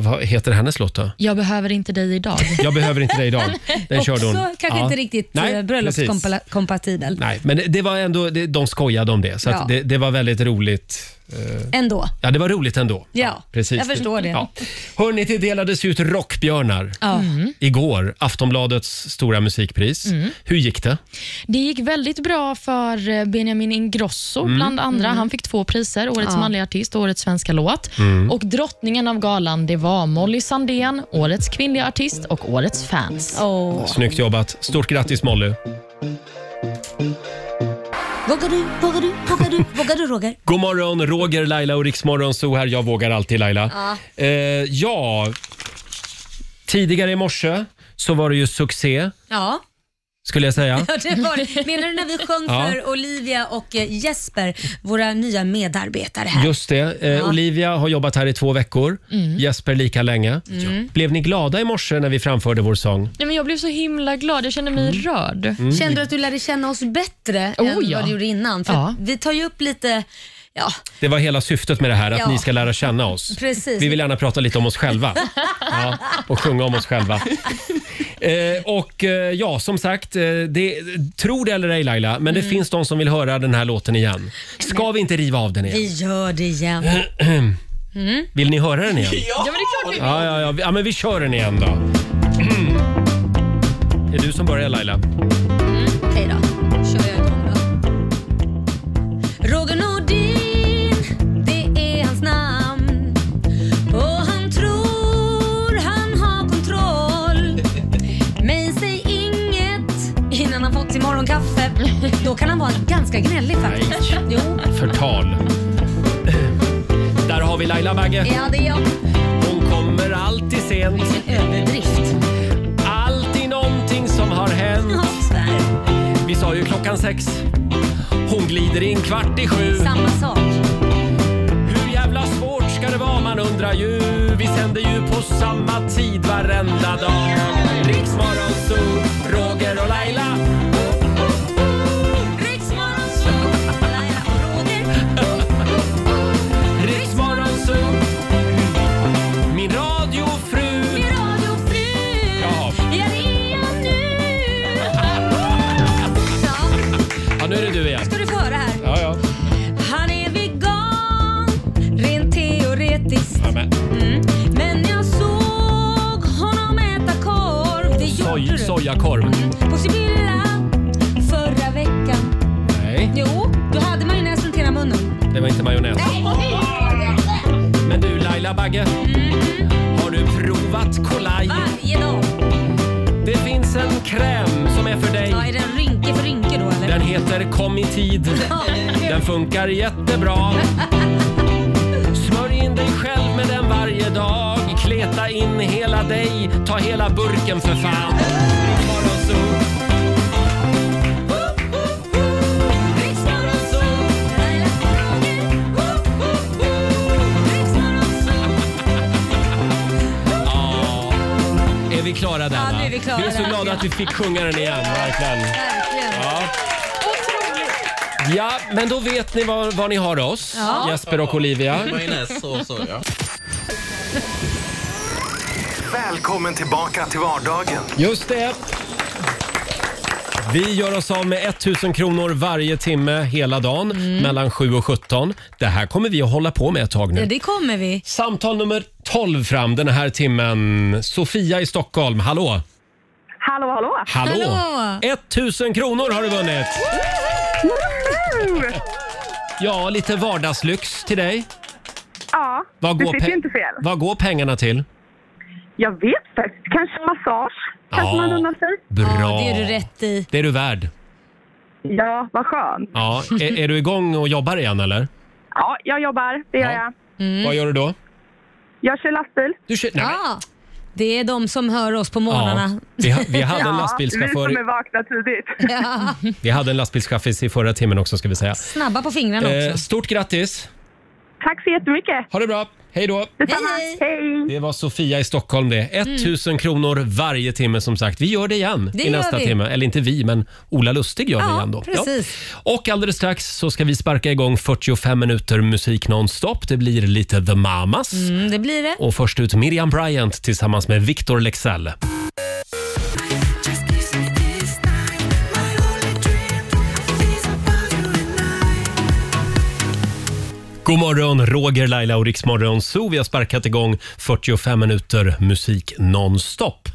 vad heter hennes låt då?
Jag behöver inte dig idag.
Jag behöver inte dig idag. Den
Också
körde hon.
kanske
Ja.
inte riktigt
Nej,
eh,
precis.
bröllopskompatibel.
Nej, men det var ändå, det- de skojade om det, så
Ja.
att det, det var väldigt roligt. eh,
Ändå.
Ja, det var roligt ändå.
Ja,
Precis.
jag förstår det.
Ja. Hörrni, det delades ut rockbjörnar
Ja. Mm.
igår, Aftonbladets stora musikpris.
Mm.
Hur gick det?
Det gick väldigt bra för eh, Benjamin Ingrosso
Mm.
bland andra.
Mm.
Han fick två priser, Årets
Ja.
manliga artist och Årets svenska låt.
Mm.
Och drottningen av galan det var Molly Sandén, Årets kvinnliga artist och Årets fans.
Snyggt jobbat. Stort grattis Molly.
Vågar du, vågar du, vågar du, vågar du Roger?
God morgon, Roger, Laila och Riksmorgon så här. Jag vågar alltid Laila.
Ja.
Eh, ja, tidigare i morse så var det ju succé
Ja.
skulle jag säga.
Ja, det var det. Menar du när vi sjöng
Ja.
för Olivia och eh, Jesper, våra nya medarbetare här?
Just det. Eh,
Ja.
Olivia har jobbat här i två veckor.
Mm.
Jesper lika länge.
Mm.
Blev ni glada i morse när vi framförde vår sång?
Nej, men jag blev så himla glad. Jag kände mig rörd.
Mm.
Kände du att du lärde känna oss bättre
Oh,
än
ja.
vad du gjorde innan? För
Ja.
att vi tar ju upp lite, ja
Det var hela syftet med det här, att
Ja.
ni ska lära känna oss.
precis.
Vi vill gärna prata lite om oss
<laughs>
själva ja, och sjunga om oss själva. Eh, och eh, ja, som sagt, eh, det, tro det eller ej Laila, men det
Mm.
finns de som vill höra den här låten igen. Ska vi inte riva av den
Vi
igen?
gör det igen. Mm.
Vill ni höra den igen?
<laughs> Ja, men det är klart vi
Ja, ja, ja, ja men vi kör den igen då. <clears throat> Det är du som börjar Laila.
Okej då, kör jag igång då. Roger Nordin, det är hans namn. Och han tror han har kontroll. Men säg inget innan han fått sin morgonkaffe. Då kan han vara ganska gnällig faktiskt. Jo.
Förtal. Där har vi Laila Bagge.
Ja, det är jag.
Hon kommer alltid sent.
Överdrift.
Alltid någonting som har hänt. Vi sa ju klockan sex. Hon glider in kvart i sju.
Samma sak.
Hur jävla svårt ska det vara man undrar ju. Vi sänder ju på samma tid varenda dag. Riksmorgon Zoo, Roger och Laila. Riksmorgon Zoo. Min radiofru. Jaha. Ja, nu är det du igen.
Ska du få höra här?
Ja, ja.
Han är vegan, rent teoretiskt. Mm. Men jag såg honom äta korv. Det gjorde
Soj,
du.
sojakorv.
På Sibylla förra veckan.
Nej,
Jo, då hade man ju näsan till hela munnen.
det var inte majonnäs. Men du Laila Bagge, har du provat Kolaj?
Varje dag.
Det finns en kräm som är för dig.
Ja, är den rynke för rynke då eller?
Den heter Kom i tid.
Ja.
Den funkar jättebra. Smörj in dig själv med den varje dag. Kleta in hela dig. Ta hela burken för fan. Ja, Är vi klara där?
Ja,
va?
nu är vi klara
är så
där.
glada att vi fick sjunga den igen. Verkligen. Ja. ja, men då vet ni var, var ni har oss.
Ja.
Jesper och Olivia.
Majonnäs och soja.
Välkommen tillbaka till vardagen.
Just det. Vi gör oss av med 1000 kronor varje timme hela dagen mellan 7 och 17. Det här kommer vi att hålla på med ett tag nu.
Ja, det kommer vi.
Samtal nummer 12 fram den här timmen. Sofia i Stockholm, hallå!
Hallå, hallå!
Hallå! 1000 kronor har du vunnit!
Woho!
Ja, lite vardagslyx till dig.
Ja,
Vad
du
går,
fick
pe-
ju inte fel.
vad går pengarna till?
Jag vet faktiskt. Kanske massage? Kanske
Ja.
man unnar sig?
Bra. Ja, det är du
rätt i.
Det är du värd.
Ja, vad skönt.
Ja. Är, är du igång och jobbar igen eller?
Ja, jag jobbar. Det gör jag.
Vad gör du då?
Jag kör lastbil.
Du kör, nej, men-
Mm. Ja, det är de som hör oss på morgnarna.
Ja, vi ha- vi hade en lastbilschaufför-
<laughs> Ja, vi som är vakna
<laughs>
tidigt.
Ja.
Vi hade en lastbilschaffis i förra timmen också ska vi säga.
Snabba på fingrarna
Eh,
också.
stort grattis!
Tack så jättemycket.
Ha det bra. Hej då!
Detsamma. Hej.
Det var Sofia i Stockholm det. 1000 kronor varje timme som sagt. Vi gör det igen
Mm. Det
i
gör
nästa
vi.
timme. Eller inte vi, men Ola Lustig gör det
Ja,
igen då.
precis.
Och alldeles strax så ska vi sparka igång 45 minuter musik nonstop. Det blir lite The Mamas.
Mm, det blir det.
Och först ut Miriam Bryant tillsammans med Victor Lexell. God morgon, Roger, Laila och Riksmorgon Zoo. Vi har sparkat igång 45 minuter musik nonstop.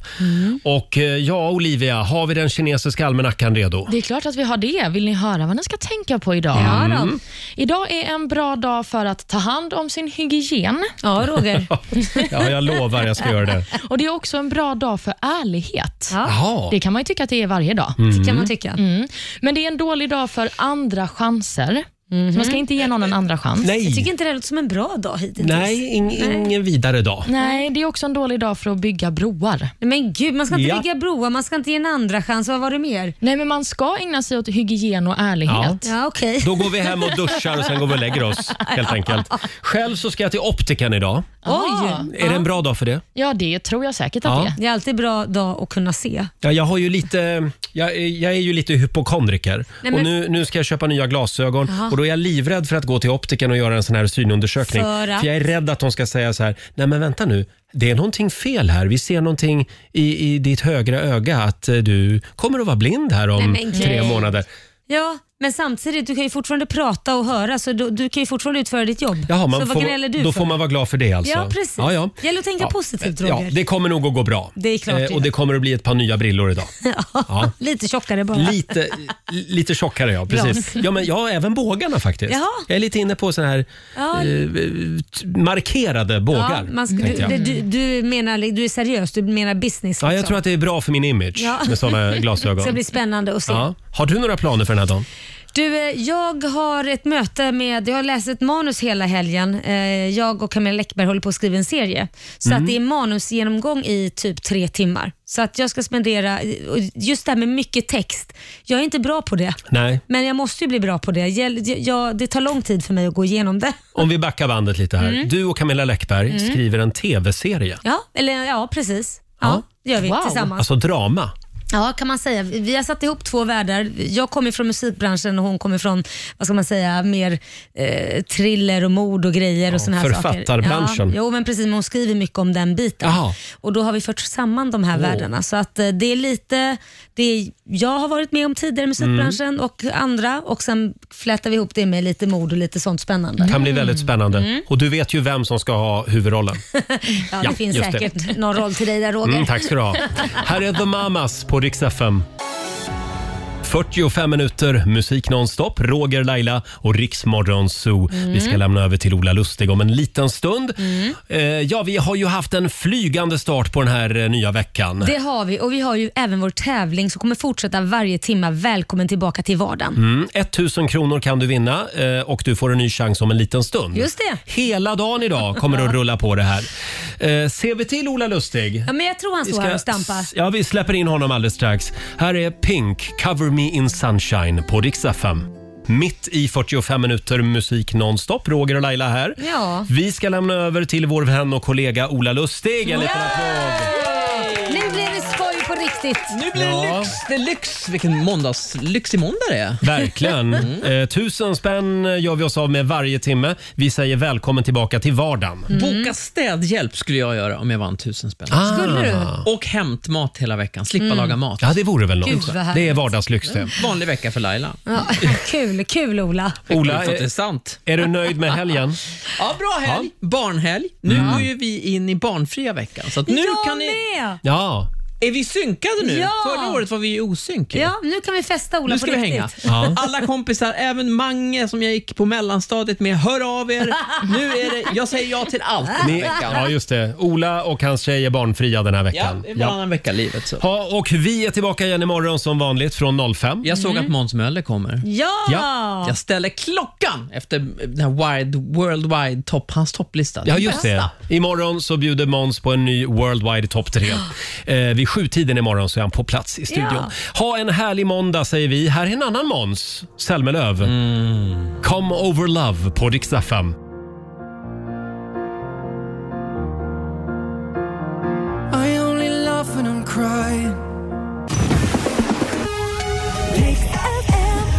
Och eh, ja, Olivia, har vi den kinesiska almanackan redo?
Det är klart att vi har det. Vill ni höra vad ni ska tänka på idag?
Ja då. Mm.
Idag är en bra dag för att ta hand om sin hygien.
Ja, Roger.
<laughs> Ja, jag lovar jag ska göra det.
Och Det är också en bra dag för ärlighet.
Jaha.
Det kan man ju tycka att det är varje dag.
Mm. Det kan man tycka.
Mm. Men det är en dålig dag för andra chanser. Så man ska inte ge någon en andra chans.
Nej. Jag tycker
inte det låter som en bra dag hittills.
Nej, ing, ingen vidare dag.
Nej, det är också en dålig dag för att bygga broar.
Men gud, man ska inte
Ja.
bygga broar, man ska inte ge en andra chans. Vad var det mer?
Nej, men man ska ägna sig åt hygien och
Ja.
ärlighet.
Då går vi hem och duschar och sen går vi och lägger <laughs> oss. Helt enkelt. Själv så ska jag till optiken idag.
Oj!
Är det en bra dag för det?
Ja, det tror jag säkert
att Ja. det är.
Det är alltid bra dag att kunna se.
Ja, jag, har ju lite, jag, är- jag är ju lite hypokondriker
Nej,
och
men-
nu, nu ska jag köpa nya glasögon
Jaha.
och då är jag livrädd för att gå till optiken och göra en sån här synundersökning.
För att?
jag är rädd att de ska säga så här, nej men vänta nu, det är någonting fel här. Vi ser någonting i, i ditt högra öga att eh, du kommer att vara blind här om
Nej, men gud.
tre månader.
Ja, men samtidigt, du kan ju fortfarande prata och höra, så du, du kan ju fortfarande utföra ditt jobb.
Jaha, man
så
får,
vad gräller du
då
för?
får man vara glad för det alltså.
Ja, precis.
Ja, ja.
gäller att tänka positivt,
Ja,
Roger.
det kommer nog att gå bra. Eh,
Det är klart det
och
gör.
det kommer att bli ett par nya
<laughs>
brillor idag. Ja.
Lite tjockare bara.
Lite, lite tjockare ja, precis.
Bra.
Ja, men jag har även bågarna faktiskt.
Jaha.
Jag är lite inne på såna här
Ja.
eh, t- markerade bågar.
Ja, man ska,
tänkte jag.
du, du, du, menar, du är seriös, du menar business.
ja, jag
liksom.
tror att det är bra för min image
Ja. <laughs>
med såna glasögon.
Det ska bli spännande att se.
Ja. Har du några planer för den här dagen?
Du, eh, jag har ett möte med, jag har läst ett manus hela helgen. Eh, Jag och Camilla Läckberg håller på att skriva en serie. Så
Mm.
att det är manusgenomgång i typ tre timmar. Så att jag ska spendera, och just det här med mycket text. Jag är inte bra på det.
Nej.
Men jag måste ju bli bra på det. Jag, jag, det tar lång tid för mig att gå igenom det.
Om vi backar bandet lite här.
Mm.
Du och Camilla Läckberg
Mm.
skriver en tv-serie.
Ja, eller ja, precis. Ja, det gör vi tillsammans.
Alltså drama.
Ja, kan man säga. Vi har satt ihop två världar. Jag kommer från musikbranschen och hon kommer från, vad ska man säga, mer eh, thriller och mord och grejer och såna här saker.
författarbranschen.
Ja, jo, men precis. Men hon skriver mycket om den biten.
Jaha.
Och då har vi fört samman de här
Åh.
världarna. Så att eh, det är lite, det är, jag har varit med om tidigare i musikbranschen
Mm.
och andra och sen flätar vi ihop det med lite mord och lite sånt spännande.
Det kan bli väldigt spännande.
Mm.
Och du vet ju vem som ska ha huvudrollen.
Ja, det
Ja,
finns
just det.
säkert någon roll till dig där Roger.
Mm, tack ska du ha. Här är The Mamas på Rix FM. 45 minuter musik nonstop, Roger, Laila och Riksmorgon Zoo.
Mm.
Vi ska lämna över till Ola Lustig om en liten stund.
Mm.
Eh, ja, vi har ju haft en flygande start på den här eh, nya veckan.
Det har vi och vi har ju även vår tävling som kommer fortsätta varje timme. Välkommen tillbaka till vardagen.
Mm, 1000 kronor kan du vinna eh, och du får en ny chans om en liten stund.
Just det.
Hela dagen idag kommer det att rulla på det här. Eh, ser vi till Ola Lustig?
Ja, men jag tror han
Vi
står här och
ska-
stampar.
Ja, vi släpper in honom alldeles strax. Här är Pink, Cover Me In Sunshine på Rix FM. Mitt i 45 minuter musik nonstop. Roger och Laila här.
Ja.
Vi ska lämna över till vår vän och kollega Ola Lustig. En liten applåd.
Nu blir det skoj på riktigt.
Nu blir det lyx, det är lyx. Vilken måndagslyx i måndag det är.
Verkligen.
Mm.
Eh, tusen spänn gör vi oss av med varje timme. Vi säger välkommen tillbaka till vardagen.
Mm.
Boka städhjälp skulle jag göra om jag vann tusen spänn.
Ah. Skulle du?
Och hämtmat hela veckan. Slippa
Mm.
laga mat.
Ja, det vore väl något.
Gud, vad härligt. Mm.
det är vardagslyx det.
Vanlig vecka för Laila.
Ja, kul, kul Ola.
Ola,
Det är
är du nöjd med helgen?
Ja, bra helg. Barnhelg. Nu går ju vi in i barnfria veckan. Så att nu
Mm. jag
kan ni...
med!
Ja.
Är vi synkade nu?
Ja!
Förra året var vi ju osynk. ju.
Ja, nu kan vi festa Ola
nu
på
ska vi hänga.
riktigt.
Alla kompisar, även Mange som jag gick på mellanstadiet med, hör av er. Nu är det, jag säger ja till allt den här
Ni,
veckan.
ja, just det. Ola och hans tjej är barnfria den här veckan.
Ja, det är varannan vecka livet. Så.
Ja, och vi är tillbaka igen imorgon som vanligt från 05.
Jag såg att Måns Möller kommer.
Ja!
Ja. Jag ställer klockan efter den här wide, world wide top, hans topplista.
Ja, just det. Imorgon så bjuder Måns på en ny Worldwide Top 3. Eh, vid sjutiden imorgon så är han på plats i studion.
Ja.
Ha en härlig måndag säger vi. Här är en annan Måns Zelmerlöw. Come over love på Rix FM.
I only laugh when I'm crying.